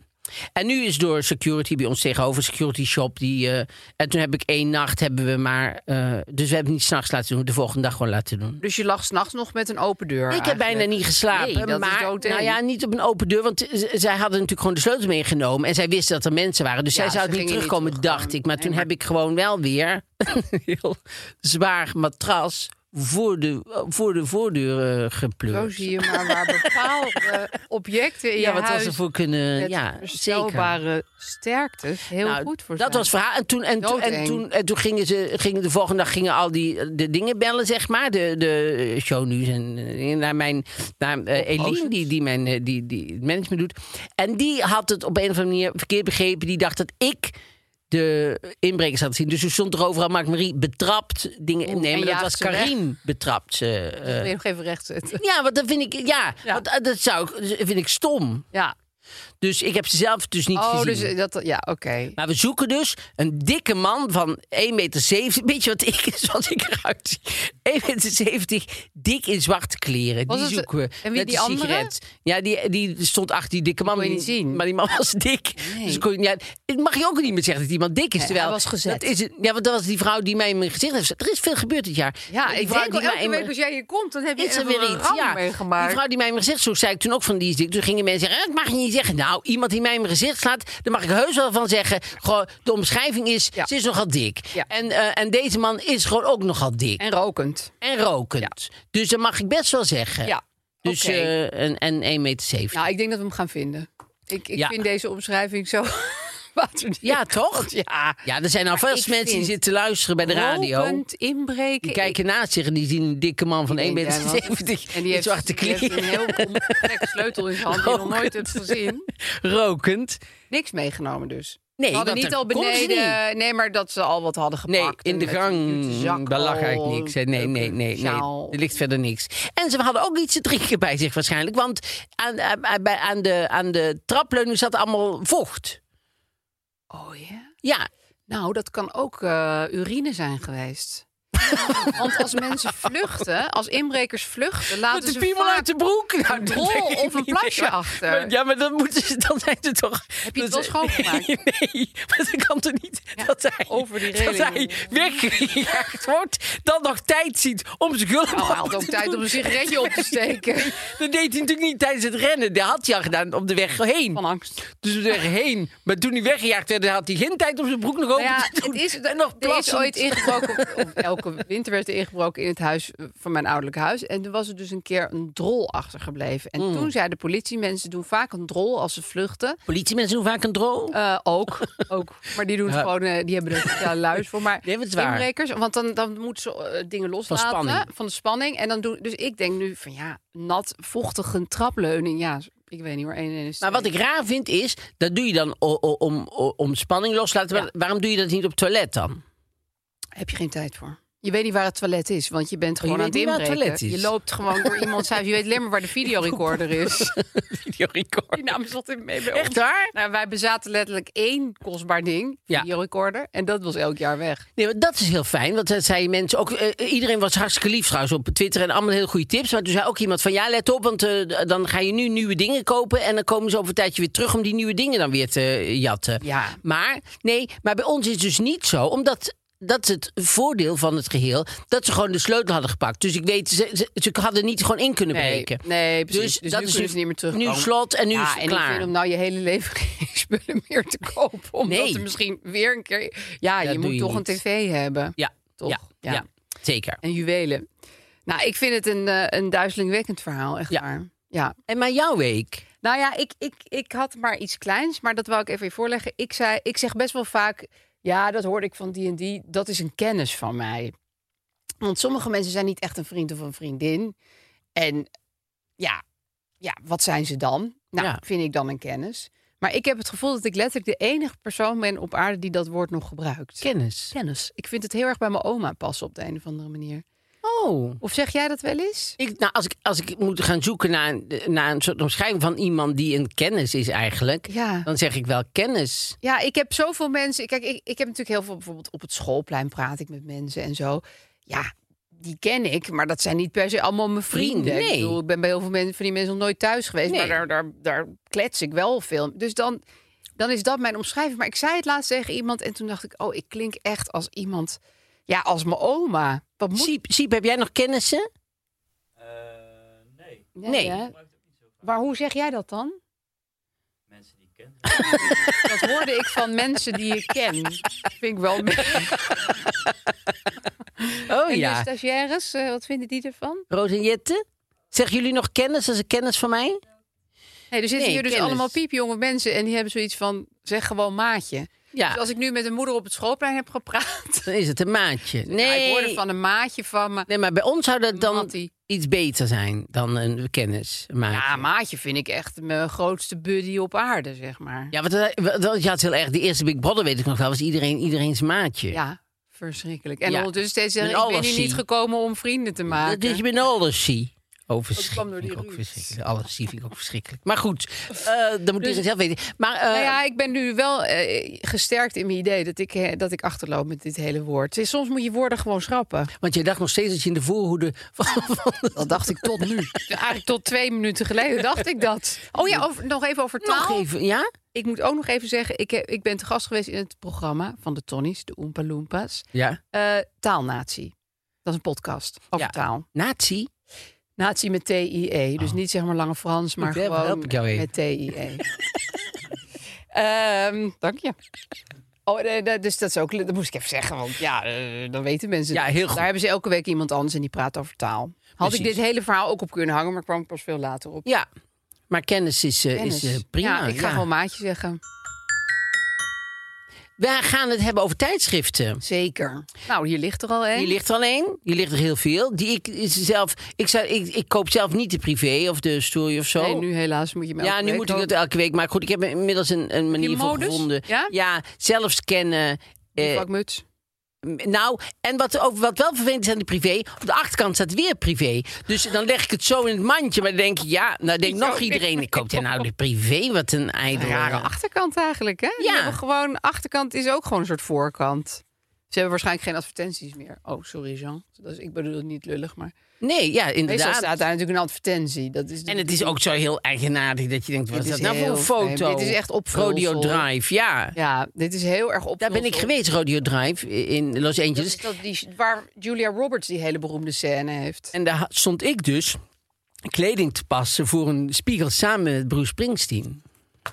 [SPEAKER 1] En nu is door security bij ons tegenover, security shop. Die, eh, en toen heb ik één nacht, hebben we maar. eh, dus we hebben niet s'nachts laten doen, de volgende dag gewoon laten doen.
[SPEAKER 2] Dus je lag s'nachts nog met een open deur.
[SPEAKER 1] Ik heb bijna niet geslapen.
[SPEAKER 2] Nee, dat is
[SPEAKER 1] maar,
[SPEAKER 2] doodeng.
[SPEAKER 1] nou ja, niet op een open deur. Want z- zij hadden natuurlijk gewoon de sleutel meegenomen. En zij wisten dat er mensen waren. Dus
[SPEAKER 2] Ja,
[SPEAKER 1] zij zou
[SPEAKER 2] ze
[SPEAKER 1] niet
[SPEAKER 2] gingen niet
[SPEAKER 1] terugkomen,
[SPEAKER 2] terug
[SPEAKER 1] dacht
[SPEAKER 2] gewoon.
[SPEAKER 1] ik. Maar
[SPEAKER 2] Nee,
[SPEAKER 1] toen
[SPEAKER 2] maar-
[SPEAKER 1] heb ik gewoon wel weer een <laughs> heel zwaar matras voor de, voor de voordeur eh, gepleurd.
[SPEAKER 2] Zo zie je maar waar
[SPEAKER 1] <laughs>
[SPEAKER 2] bepaalde objecten in
[SPEAKER 1] ja,
[SPEAKER 2] je
[SPEAKER 1] wat was
[SPEAKER 2] huis
[SPEAKER 1] er voor kunnen.
[SPEAKER 2] met
[SPEAKER 1] ja, zeker.
[SPEAKER 2] verstelbare sterktes heel
[SPEAKER 1] Nou,
[SPEAKER 2] goed voor
[SPEAKER 1] dat
[SPEAKER 2] zijn.
[SPEAKER 1] was verhaal. En toen, en, toen, en,
[SPEAKER 2] Doodeng.
[SPEAKER 1] toen, en toen gingen ze, gingen de volgende dag gingen al die eh, de dingen bellen, zeg maar. De, de shownieuws en eh, naar mijn naar, eh, Eline, die, die, mijn, eh, die, die het management doet. En die had het op een of andere manier verkeerd begrepen. Die dacht dat ik de inbrekers had zien. Dus toen stond er overal Mark Marie betrapt dingen.
[SPEAKER 2] Oeh,
[SPEAKER 1] nee,
[SPEAKER 2] en
[SPEAKER 1] maar dat
[SPEAKER 2] jaagt
[SPEAKER 1] was
[SPEAKER 2] ze weg.
[SPEAKER 1] Karim betrapt. ze, eh.
[SPEAKER 2] Wil je nog even
[SPEAKER 1] <laughs>
[SPEAKER 2] rechtzetten?
[SPEAKER 1] ja, want dat vind ik, ja,
[SPEAKER 2] Ja.
[SPEAKER 1] Want, eh, dat zou ik, dat vind ik stom.
[SPEAKER 2] Ja.
[SPEAKER 1] Dus ik heb ze zelf dus niet
[SPEAKER 2] Oh,
[SPEAKER 1] gezien.
[SPEAKER 2] dus dat... Ja, oké.
[SPEAKER 1] Maar we zoeken dus een dikke man van 1,70 meter. Weet je wat ik is, wat ik eruit zie? 1,70 meter, dik in zwarte kleren.
[SPEAKER 2] Was
[SPEAKER 1] die
[SPEAKER 2] het-
[SPEAKER 1] zoeken we.
[SPEAKER 2] en wie
[SPEAKER 1] Met
[SPEAKER 2] die
[SPEAKER 1] een
[SPEAKER 2] andere?
[SPEAKER 1] sigaret. Ja, die, die stond achter die dikke man.
[SPEAKER 2] kon je
[SPEAKER 1] maar
[SPEAKER 2] niet
[SPEAKER 1] die-
[SPEAKER 2] zien.
[SPEAKER 1] Maar die man was dik.
[SPEAKER 2] Nee.
[SPEAKER 1] Dus kon je, ja, het mag je ook niet meer zeggen dat iemand dik is.
[SPEAKER 2] Nee,
[SPEAKER 1] terwijl,
[SPEAKER 2] hij was gezet.
[SPEAKER 1] Dat is, het- ja, want dat was die vrouw die mij in mijn gezicht heeft. gezet. Er is veel gebeurd dit jaar.
[SPEAKER 2] Ja,
[SPEAKER 1] Die
[SPEAKER 2] ik
[SPEAKER 1] vrouw
[SPEAKER 2] denk
[SPEAKER 1] die
[SPEAKER 2] al
[SPEAKER 1] mij
[SPEAKER 2] elke
[SPEAKER 1] in mijn-
[SPEAKER 2] week als jij hier komt, dan heb je
[SPEAKER 1] is er
[SPEAKER 2] een
[SPEAKER 1] weer iets.
[SPEAKER 2] ramp
[SPEAKER 1] Ja. Die
[SPEAKER 2] meegemaakt.
[SPEAKER 1] vrouw die mij in mijn gezicht sloeg, zei ik toen ook van die is dik. Toen gingen mensen zeggen, "Eh, dat mag je niet zeggen. Nou, iemand die mij in mijn gezicht slaat, daar mag ik heus wel van zeggen. Gewoon, de omschrijving is,
[SPEAKER 2] Ja.
[SPEAKER 1] ze is nogal dik.
[SPEAKER 2] Ja.
[SPEAKER 1] En, eh, en deze man is gewoon ook nogal dik. En,
[SPEAKER 2] En rokend.
[SPEAKER 1] rokend. Dus dat mag ik best wel zeggen.
[SPEAKER 2] Ja.
[SPEAKER 1] Dus,
[SPEAKER 2] Oké.
[SPEAKER 1] eh, en, en 1,70 meter.
[SPEAKER 2] Nou, ik denk dat we hem gaan vinden. Ik, ik
[SPEAKER 1] Ja.
[SPEAKER 2] vind deze omschrijving zo <laughs> waterdicht.
[SPEAKER 1] Ja, toch?
[SPEAKER 2] Ja.
[SPEAKER 1] Ja, er zijn al veel
[SPEAKER 2] ik
[SPEAKER 1] mensen die
[SPEAKER 2] vind-
[SPEAKER 1] zitten te luisteren bij de radio.
[SPEAKER 2] Ropend, inbreken.
[SPEAKER 1] Die kijken naast zich en die zien een dikke man van 1,70
[SPEAKER 2] Ik denk,
[SPEAKER 1] meter.
[SPEAKER 2] jij wat? En die
[SPEAKER 1] met
[SPEAKER 2] heeft,
[SPEAKER 1] zwarte
[SPEAKER 2] die heeft een
[SPEAKER 1] kleren. <laughs>
[SPEAKER 2] heel complexe sleutel in zijn hand die je nog nooit hebt
[SPEAKER 1] Rokend.
[SPEAKER 2] gezien.
[SPEAKER 1] Rokend.
[SPEAKER 2] Niks meegenomen dus.
[SPEAKER 1] Nee,
[SPEAKER 2] We hadden
[SPEAKER 1] want
[SPEAKER 2] niet
[SPEAKER 1] daar
[SPEAKER 2] al
[SPEAKER 1] komen ze
[SPEAKER 2] beneden. Nee, maar dat ze al wat hadden gepakt.
[SPEAKER 1] Nee, in
[SPEAKER 2] en
[SPEAKER 1] de
[SPEAKER 2] met een
[SPEAKER 1] gang.
[SPEAKER 2] zak
[SPEAKER 1] Daar lag
[SPEAKER 2] al,
[SPEAKER 1] eigenlijk niks. hè. Nee,
[SPEAKER 2] leuke
[SPEAKER 1] nee, nee, nee.
[SPEAKER 2] sjaal.
[SPEAKER 1] Er ligt verder niks. En ze hadden ook iets te drinken bij zich waarschijnlijk. Want aan, aan, aan- bij- aan de, aan de trapleuning zat allemaal vocht.
[SPEAKER 2] Oh ja.
[SPEAKER 1] Ja,
[SPEAKER 2] Nou, dat kan ook eh, urine zijn
[SPEAKER 1] <laughs>
[SPEAKER 2] geweest. Want als mensen vluchten, als inbrekers vluchten, laten
[SPEAKER 1] met de
[SPEAKER 2] ze
[SPEAKER 1] piemel
[SPEAKER 2] vaak
[SPEAKER 1] uit de broek. Nou,
[SPEAKER 2] een
[SPEAKER 1] dat
[SPEAKER 2] drol
[SPEAKER 1] weet ik
[SPEAKER 2] of een
[SPEAKER 1] niet
[SPEAKER 2] plasje
[SPEAKER 1] meer.
[SPEAKER 2] achter.
[SPEAKER 1] Maar- ja, maar dan, moeten ze, dan zijn ze toch... Heb
[SPEAKER 2] je het wel
[SPEAKER 1] <laughs>
[SPEAKER 2] schoongemaakt?
[SPEAKER 1] Nee, maar dan kan toch niet dat hij,
[SPEAKER 2] over die
[SPEAKER 1] dat hij
[SPEAKER 2] reling.
[SPEAKER 1] weggejaagd wordt... dan nog tijd ziet om zijn gulp
[SPEAKER 2] Nou, hij
[SPEAKER 1] open
[SPEAKER 2] had ook
[SPEAKER 1] te
[SPEAKER 2] tijd
[SPEAKER 1] doen.
[SPEAKER 2] om een sigaretje op te
[SPEAKER 1] <laughs>
[SPEAKER 2] steken.
[SPEAKER 1] Dat deed hij natuurlijk niet tijdens het rennen. Dat had hij al gedaan op de weg heen.
[SPEAKER 2] Van angst.
[SPEAKER 1] Dus we er heen. Maar toen hij weggejaagd werd, had hij geen tijd om zijn broek nog open
[SPEAKER 2] Nou
[SPEAKER 1] te doen.
[SPEAKER 2] het is,
[SPEAKER 1] en nog
[SPEAKER 2] er is
[SPEAKER 1] plassend.
[SPEAKER 2] ooit ingebroken, op- op elke winter werd er ingebroken in het huis eh, van mijn ouderlijk huis. En toen was er dus een keer een drol achtergebleven. En toen zei de politie, mensen doen vaak een drol als ze vluchten.
[SPEAKER 1] Politiemensen doen vaak een drol.
[SPEAKER 2] Eh, ook, ook. Maar die doen het
[SPEAKER 1] Ja.
[SPEAKER 2] gewoon, eh, die hebben er speciaal luis voor. Maar
[SPEAKER 1] Nee, maar het is waar.
[SPEAKER 2] inbrekers, want dan, dan moeten ze eh, dingen loslaten
[SPEAKER 1] spanning.
[SPEAKER 2] van de spanning. En dan doen, dus ik denk nu van ja, nat, vochtig, een trapleuning. Ja, ik weet niet hoor, één en één is
[SPEAKER 1] Maar wat
[SPEAKER 2] twee.
[SPEAKER 1] ik raar vind is, dat doe je dan o- o- om, o- om spanning los te laten. Maar Waarom doe je dat niet op het toilet dan?
[SPEAKER 2] Heb je geen tijd voor. Je weet niet waar het toilet is, want je bent
[SPEAKER 1] Oh, je
[SPEAKER 2] gewoon aan
[SPEAKER 1] weet
[SPEAKER 2] het
[SPEAKER 1] niet waar het
[SPEAKER 2] inbreken.
[SPEAKER 1] toilet
[SPEAKER 2] Je
[SPEAKER 1] is.
[SPEAKER 2] loopt
[SPEAKER 1] <laughs>
[SPEAKER 2] gewoon door iemands huis. Je weet alleen maar waar de videorecorder is.
[SPEAKER 1] Videorecord.
[SPEAKER 2] <laughs> Die naam zat in mee bij
[SPEAKER 1] Echt
[SPEAKER 2] ons.
[SPEAKER 1] waar?
[SPEAKER 2] Nou, wij bezaten letterlijk één kostbaar ding,
[SPEAKER 1] Ja.
[SPEAKER 2] videorecorder. En dat was elk jaar weg.
[SPEAKER 1] Nee, maar dat is heel fijn. Want dat zei mensen ook. eh, iedereen was hartstikke lief trouwens op Twitter en allemaal hele goede tips. Maar toen zei ook iemand van ja, let op, want eh, dan ga je nu nieuwe dingen kopen. En dan komen ze over een tijdje weer terug om die nieuwe dingen dan weer te eh, jatten.
[SPEAKER 2] Ja.
[SPEAKER 1] Maar nee, maar bij ons is het dus niet zo, omdat. Dat is het voordeel van het geheel. Dat ze gewoon de sleutel hadden gepakt. Dus ik weet, ze, ze, ze hadden niet gewoon in kunnen
[SPEAKER 2] Nee,
[SPEAKER 1] breken.
[SPEAKER 2] nee, precies. Dus nu kunnen
[SPEAKER 1] nu-
[SPEAKER 2] ze niet meer terugkomen.
[SPEAKER 1] Nu slot en nu
[SPEAKER 2] ja,
[SPEAKER 1] is het
[SPEAKER 2] en ik
[SPEAKER 1] klaar.
[SPEAKER 2] vind om nou je hele leven <laughs> geen spullen meer te kopen. Omdat
[SPEAKER 1] Nee.
[SPEAKER 2] er misschien weer een keer... Ja,
[SPEAKER 1] Dat
[SPEAKER 2] je
[SPEAKER 1] doe
[SPEAKER 2] moet
[SPEAKER 1] je
[SPEAKER 2] toch
[SPEAKER 1] niet.
[SPEAKER 2] een tv hebben.
[SPEAKER 1] Ja,
[SPEAKER 2] Toch?
[SPEAKER 1] Ja, ja.
[SPEAKER 2] Ja.
[SPEAKER 1] zeker.
[SPEAKER 2] En juwelen. Nou, ik vind het een, eh, een duizelingwekkend verhaal, echt
[SPEAKER 1] Ja.
[SPEAKER 2] waar. Ja.
[SPEAKER 1] En maar jouw week?
[SPEAKER 2] Nou ja, ik, ik, ik had maar iets kleins, maar dat wou ik even je voorleggen. Ik, zei, ik zeg best wel vaak, ja, dat hoorde ik van die en die. Dat is een kennis van mij. Want sommige mensen zijn niet echt een vriend of een vriendin. En ja, ja wat zijn ze dan? Nou,
[SPEAKER 1] Ja.
[SPEAKER 2] vind ik dan een kennis. Maar ik heb het gevoel dat ik letterlijk de enige persoon ben op aarde die dat woord nog gebruikt.
[SPEAKER 1] Kennis.
[SPEAKER 2] Kennis. Ik vind het heel erg bij mijn oma passen op de een of andere manier.
[SPEAKER 1] Oh.
[SPEAKER 2] Of zeg jij dat wel eens?
[SPEAKER 1] Ik, nou, als, ik, als ik moet gaan zoeken naar, een- naar een soort omschrijving van iemand die een kennis is eigenlijk,
[SPEAKER 2] Ja.
[SPEAKER 1] dan zeg ik wel kennis.
[SPEAKER 2] Ja, ik heb zoveel mensen. Kijk, ik, ik heb natuurlijk heel veel, bijvoorbeeld op het schoolplein praat ik met mensen en zo. Ja, die ken ik, maar dat zijn niet per se allemaal mijn vrienden.
[SPEAKER 1] Nee.
[SPEAKER 2] Ik, bedoel, ik ben bij heel veel mensen, van die mensen nog nooit thuis geweest,
[SPEAKER 1] Nee.
[SPEAKER 2] maar daar, daar, daar klets ik wel veel. Dus dan, dan is dat mijn omschrijving. Maar ik zei het laatst tegen iemand en toen dacht ik, oh, ik klink echt als iemand, ja, als mijn oma. Wat moet
[SPEAKER 1] Siep, Siep, heb jij nog kennissen?
[SPEAKER 2] Nee.
[SPEAKER 1] Nee.
[SPEAKER 2] hè? Maar hoe zeg jij dat dan?
[SPEAKER 3] mensen die ik ken.
[SPEAKER 2] <laughs> Dat hoorde ik van mensen die ik ken. Vind ik <laughs> wel.
[SPEAKER 1] Oh
[SPEAKER 2] en de
[SPEAKER 1] ja.
[SPEAKER 2] stagiaires, eh, wat vinden die ervan?
[SPEAKER 1] Roos en Jette? Zeggen jullie nog kennis? Dat is een kennis van mij?
[SPEAKER 2] Nee, er zitten
[SPEAKER 1] Nee,
[SPEAKER 2] hier dus
[SPEAKER 1] kennis.
[SPEAKER 2] allemaal piepjonge mensen en die hebben zoiets van zeg gewoon maatje.
[SPEAKER 1] Ja,
[SPEAKER 2] Dus als ik nu met een moeder op het schoolplein heb gepraat, <laughs>
[SPEAKER 1] dan is het een maatje. Nee,
[SPEAKER 2] nou, ik hoorde van een maatje van me.
[SPEAKER 1] nee maar bij ons zou dat dan
[SPEAKER 2] Mattie.
[SPEAKER 1] iets beter zijn dan een kennis. Een maatje.
[SPEAKER 2] Ja, maatje vind ik echt mijn grootste buddy op aarde, zeg maar.
[SPEAKER 1] Ja,
[SPEAKER 2] Ja,
[SPEAKER 1] want dat- dat- dat- je had heel erg. De eerste Big Brother, weet ik nog wel, was iedereen iedereen's maatje.
[SPEAKER 2] verschrikkelijk. En
[SPEAKER 1] Ja.
[SPEAKER 2] ondertussen steeds
[SPEAKER 1] Met
[SPEAKER 2] zeggen, ik ben hier
[SPEAKER 1] allergie.
[SPEAKER 2] niet gekomen om vrienden te maken.
[SPEAKER 1] Dat is met alles zie. Oh,
[SPEAKER 2] kwam door
[SPEAKER 1] verschrikkelijk.
[SPEAKER 2] die
[SPEAKER 1] Vind ik ook
[SPEAKER 2] ruut.
[SPEAKER 1] verschrikkelijk. Alles zie vind ik ook verschrikkelijk. Maar goed, eh dat moet iedereen zelf weten. Maar eh,
[SPEAKER 2] Dus- Nou ja, ik ben nu wel eh, gesterkt in mijn idee dat ik, eh, dat ik achterloop met dit hele woord. Soms moet je woorden gewoon schrappen.
[SPEAKER 1] want jij dacht nog steeds dat je in de voorhoede van, van-
[SPEAKER 2] Dat dacht ik tot nu. <laughs> Eigenlijk tot twee minuten geleden dacht ik dat. Oh ja, over- nog even over taal.
[SPEAKER 1] nog even, ja?
[SPEAKER 2] Ik moet ook nog even zeggen, ik, heb- ik ben te gast geweest in het programma van de Tonnies, de Oompa Loompas.
[SPEAKER 1] Ja.
[SPEAKER 2] Eh, taalnatie. Dat is een podcast over
[SPEAKER 1] Ja.
[SPEAKER 2] taal.
[SPEAKER 1] Nazi?
[SPEAKER 2] Natie met T-I-E.
[SPEAKER 1] Oh.
[SPEAKER 2] Dus niet zeg maar lange Frans, maar
[SPEAKER 1] help-
[SPEAKER 2] gewoon E.
[SPEAKER 1] <laughs> help ik jou even.
[SPEAKER 2] met T-I-E. Ehm, dank je. Oh, eh, eh, dus dat is ook, dat moest ik even zeggen, want ja, eh, dan weten mensen.
[SPEAKER 1] Ja,
[SPEAKER 2] het.
[SPEAKER 1] heel goed.
[SPEAKER 2] Daar hebben ze elke week iemand anders en die praat over taal. Had ik
[SPEAKER 1] Precies.
[SPEAKER 2] dit hele verhaal ook op kunnen hangen, maar kwam ik pas veel later op.
[SPEAKER 1] Ja, maar kennis is, eh,
[SPEAKER 2] Tennis.
[SPEAKER 1] is eh, prima.
[SPEAKER 2] Ja, ik ga
[SPEAKER 1] ja.
[SPEAKER 2] gewoon maatje zeggen.
[SPEAKER 1] Wij gaan het hebben over tijdschriften.
[SPEAKER 2] Zeker. Nou, hier ligt er al één.
[SPEAKER 1] Hier ligt er al één. Hier ligt er heel veel. Die ik is zelf, ik, zou, ik, ik koop zelf niet de privé of de story of zo.
[SPEAKER 2] Nee, nu helaas moet je me
[SPEAKER 1] ja,
[SPEAKER 2] elke
[SPEAKER 1] nu
[SPEAKER 2] week
[SPEAKER 1] moet ik
[SPEAKER 2] ook-
[SPEAKER 1] dat elke week. Maar goed, ik heb inmiddels een, een manier voor
[SPEAKER 2] modus?
[SPEAKER 1] gevonden.
[SPEAKER 2] Ja?
[SPEAKER 1] zelf scannen.
[SPEAKER 2] Die
[SPEAKER 1] eh,
[SPEAKER 2] vakmuts.
[SPEAKER 1] nou, en wat, ook, wat wel vervelend is aan de privé, op de achterkant staat weer privé. Dus dan leg ik het zo in het mandje. Maar dan denk je, ja, nou denkt nog iedereen, ik koop daar nou de privé. Wat een
[SPEAKER 2] Een
[SPEAKER 1] ijdel.
[SPEAKER 2] rare achterkant eigenlijk, hè? Die
[SPEAKER 1] Ja.
[SPEAKER 2] hebben gewoon, achterkant is ook gewoon een soort voorkant. Ze hebben waarschijnlijk geen advertenties meer. Oh, sorry Jean. Dat is, ik bedoel het niet lullig, maar
[SPEAKER 1] Nee, ja,
[SPEAKER 2] meestal
[SPEAKER 1] inderdaad.
[SPEAKER 2] staat daar natuurlijk een advertentie. Dat is de
[SPEAKER 1] En het is
[SPEAKER 2] bedoeling.
[SPEAKER 1] ook zo heel eigenaardig dat je denkt, wat
[SPEAKER 2] Dit
[SPEAKER 1] is dat nou
[SPEAKER 2] is
[SPEAKER 1] voor een
[SPEAKER 2] heel vreemd.
[SPEAKER 1] foto?
[SPEAKER 2] Dit is echt opvulsel.
[SPEAKER 1] Rodeo Drive, ja.
[SPEAKER 2] Ja, dit is heel erg op.
[SPEAKER 1] Daar ben ik geweest, Rodeo Drive, in Los
[SPEAKER 2] Dat
[SPEAKER 1] Angeles.
[SPEAKER 2] is dat die, waar Julia Roberts die hele beroemde scène heeft.
[SPEAKER 1] En daar ha- stond ik dus kleding te passen voor een spiegel samen met Bruce Springsteen.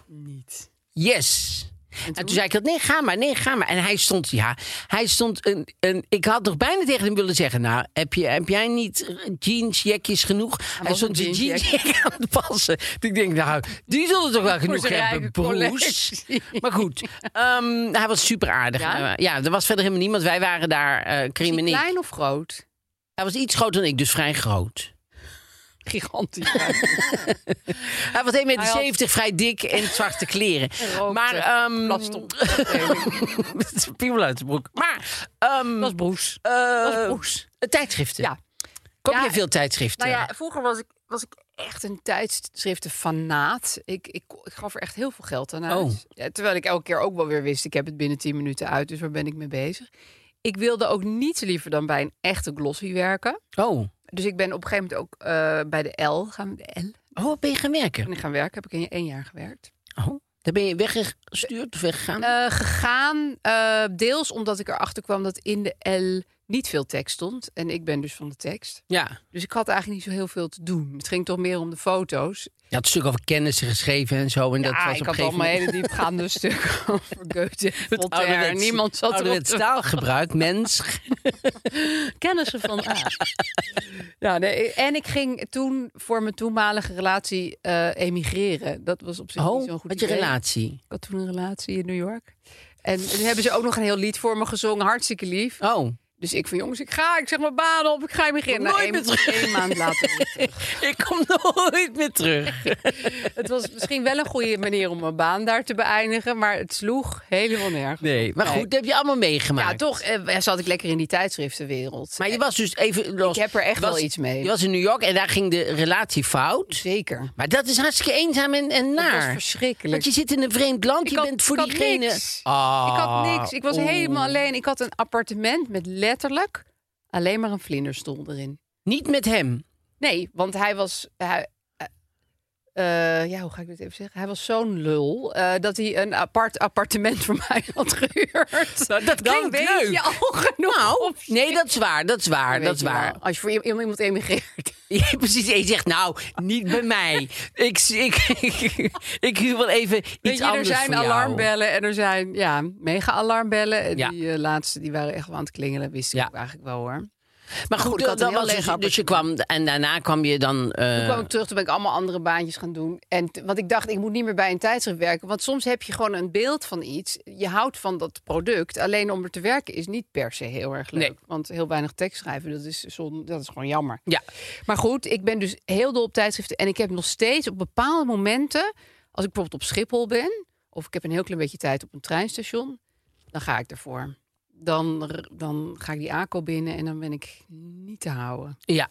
[SPEAKER 2] Niet.
[SPEAKER 1] Yes. En toen zei ik dat, nee, ga maar, nee, ga maar. En hij stond, ja, hij stond een, een... Ik had nog bijna tegen hem willen zeggen, nou, heb, je, heb jij niet jeansjekjes genoeg? Hij
[SPEAKER 2] was
[SPEAKER 1] stond
[SPEAKER 2] een
[SPEAKER 1] zijn
[SPEAKER 2] jeansjack.
[SPEAKER 1] jeansjack <laughs> aan het passen. Dus ik denk, nou, die zullen
[SPEAKER 2] <laughs>
[SPEAKER 1] toch wel genoeg
[SPEAKER 2] zijn
[SPEAKER 1] hebben,
[SPEAKER 2] eigen
[SPEAKER 1] Bruce.
[SPEAKER 2] collectie.
[SPEAKER 1] Maar goed, ehm, hij was super aardig. Ja?
[SPEAKER 2] Ja?
[SPEAKER 1] ja, er was verder helemaal niemand. Wij waren daar, eh
[SPEAKER 2] Is
[SPEAKER 1] Krim
[SPEAKER 2] die
[SPEAKER 1] en ik.
[SPEAKER 2] klein of groot?
[SPEAKER 1] Hij was iets groter dan ik, dus vrij groot.
[SPEAKER 2] Gigantisch.
[SPEAKER 1] <laughs> Hij was 1,70 meter,
[SPEAKER 2] Hij had-
[SPEAKER 1] vrij dik en
[SPEAKER 2] <laughs>
[SPEAKER 1] zwarte kleren.
[SPEAKER 2] rookte.
[SPEAKER 1] maar, ehm
[SPEAKER 2] Plastom.
[SPEAKER 1] het is <laughs> piemel uit de broek. Maar, ehm
[SPEAKER 2] Dat is Broes.
[SPEAKER 1] eh,
[SPEAKER 2] was Broes.
[SPEAKER 1] tijdschriften.
[SPEAKER 2] Ja.
[SPEAKER 1] Koop
[SPEAKER 2] Ja,
[SPEAKER 1] je veel tijdschriften?
[SPEAKER 2] Nou ja, vroeger was ik, was ik echt een tijdschriftenfanaat. Ik, ik, ik gaf er echt heel veel geld aan uit.
[SPEAKER 1] Oh.
[SPEAKER 2] Ja, terwijl ik elke keer ook wel weer wist, ik heb het binnen 10 minuten uit, dus waar ben ik mee bezig? Ik wilde ook niets liever dan bij een echte glossy werken.
[SPEAKER 1] Oh,
[SPEAKER 2] Dus ik ben op een gegeven moment ook eh, bij de L gaan, de L
[SPEAKER 1] oh ben je gaan werken?
[SPEAKER 2] ben ik gaan werken. Heb ik in één jaar gewerkt.
[SPEAKER 1] Oh. Daar ben je weggestuurd of weggegaan?
[SPEAKER 2] Eh, gegaan, eh, deels omdat ik erachter kwam dat in de L niet veel tekst stond. En ik ben dus van de tekst.
[SPEAKER 1] ja.
[SPEAKER 2] Dus ik had eigenlijk niet zo heel veel te doen. Het ging toch meer om de foto's.
[SPEAKER 1] Je had een stuk over kennissen geschreven en zo. En dat was
[SPEAKER 2] ja,
[SPEAKER 1] op
[SPEAKER 2] ik
[SPEAKER 1] een
[SPEAKER 2] had
[SPEAKER 1] gegeven
[SPEAKER 2] allemaal
[SPEAKER 1] moment-
[SPEAKER 2] hele diepgaande stukken <laughs> over Goethe.
[SPEAKER 1] Het
[SPEAKER 2] Voltaire.
[SPEAKER 1] ouderwets-
[SPEAKER 2] Niemand zat erop
[SPEAKER 1] ouderwets
[SPEAKER 2] te
[SPEAKER 1] taalgebruik,
[SPEAKER 2] <laughs>
[SPEAKER 1] mens.
[SPEAKER 2] kennissen van A. <laughs> ja, nee, en ik ging toen voor mijn toenmalige relatie eh, emigreren. Dat was op zich niet zo'n
[SPEAKER 1] Oh,
[SPEAKER 2] goed
[SPEAKER 1] wat je
[SPEAKER 2] idee.
[SPEAKER 1] relatie.
[SPEAKER 2] Ik had toen een relatie in New York. En toen hebben ze ook nog een heel lied voor me gezongen. Hartstikke lief.
[SPEAKER 1] Oh,
[SPEAKER 2] Dus ik van jongens, ik ga, ik zeg mijn baan op, ik ga emigreren.
[SPEAKER 1] Nooit
[SPEAKER 2] Nou, één-
[SPEAKER 1] meer terug.
[SPEAKER 2] één maand later.
[SPEAKER 1] <laughs>
[SPEAKER 2] weer terug.
[SPEAKER 1] ik
[SPEAKER 2] <laughs>
[SPEAKER 1] kom nooit meer terug.
[SPEAKER 2] Het was misschien wel een goede manier om mijn baan daar te beëindigen, maar het sloeg helemaal nergens.
[SPEAKER 1] Nee, maar goed, dat heb je allemaal meegemaakt.
[SPEAKER 2] Ja, toch eh, zat ik lekker in die tijdschriftenwereld.
[SPEAKER 1] Maar je was dus even los.
[SPEAKER 2] Ik heb er echt
[SPEAKER 1] Je was-
[SPEAKER 2] wel iets mee.
[SPEAKER 1] Je was in New York en daar ging de relatie fout.
[SPEAKER 2] Eh, Zeker.
[SPEAKER 1] Maar dat is hartstikke eenzaam en, en
[SPEAKER 2] Dat was
[SPEAKER 1] naar.
[SPEAKER 2] verschrikkelijk.
[SPEAKER 1] Want je zit in een vreemd land, je
[SPEAKER 2] had-
[SPEAKER 1] bent voor
[SPEAKER 2] ik had
[SPEAKER 1] diegene...
[SPEAKER 2] niks.
[SPEAKER 1] Ah,
[SPEAKER 2] ik had niks. Ik was
[SPEAKER 1] oeh.
[SPEAKER 2] helemaal alleen. Ik had een appartement met letterlijk alleen maar een vlinderstoel erin.
[SPEAKER 1] Niet met hem.
[SPEAKER 2] Nee, want hij was. Hij, eh, eh, ja, hoe ga ik dit even zeggen? Hij was zo'n lul eh, dat hij een apart appartement voor mij had gehuurd.
[SPEAKER 1] Nou, dat
[SPEAKER 2] Dan
[SPEAKER 1] klinkt
[SPEAKER 2] weet
[SPEAKER 1] leuk.
[SPEAKER 2] je al genoeg.
[SPEAKER 1] Nou,
[SPEAKER 2] op zich.
[SPEAKER 1] nee, dat is waar, dat is waar,
[SPEAKER 2] Weet
[SPEAKER 1] dat is
[SPEAKER 2] je wel,
[SPEAKER 1] waar.
[SPEAKER 2] Als je voor i- iemand emigreert.
[SPEAKER 1] <laughs> Ja, precies, en je zegt, nou, niet bij mij. ik, ik, ik, <laughs> ik huur wel even iets
[SPEAKER 2] Weet je, er
[SPEAKER 1] anders
[SPEAKER 2] zijn
[SPEAKER 1] voor jou.
[SPEAKER 2] alarmbellen en er zijn ja, mega-alarmbellen. En
[SPEAKER 1] Ja.
[SPEAKER 2] Die eh, laatste die waren echt wel aan het klingelen. Wist ik
[SPEAKER 1] Ja.
[SPEAKER 2] ook eigenlijk wel hoor.
[SPEAKER 1] Maar goed,
[SPEAKER 2] Goed, ik had
[SPEAKER 1] dat
[SPEAKER 2] een heel
[SPEAKER 1] was
[SPEAKER 2] leeg
[SPEAKER 1] dus, dus je kwam...
[SPEAKER 2] appartement.
[SPEAKER 1] En daarna kwam je dan... eh,
[SPEAKER 2] Toen kwam ik terug, toen ben ik allemaal andere baantjes gaan doen. En t- want ik dacht, ik moet niet meer bij een tijdschrift werken. Want soms heb je gewoon een beeld van iets. Je houdt van dat product. Alleen om er te werken is niet per se heel erg leuk.
[SPEAKER 1] Nee.
[SPEAKER 2] Want heel weinig tekst schrijven, dat is, zon, dat is gewoon jammer.
[SPEAKER 1] Ja.
[SPEAKER 2] Maar goed, ik ben dus heel dol op tijdschriften. En ik heb nog steeds op bepaalde momenten... als ik bijvoorbeeld op Schiphol ben... of ik heb een heel klein beetje tijd op een treinstation... dan ga ik ervoor. Dan, r- dan ga ik die ACO binnen en dan ben ik niet te houden.
[SPEAKER 1] Ja,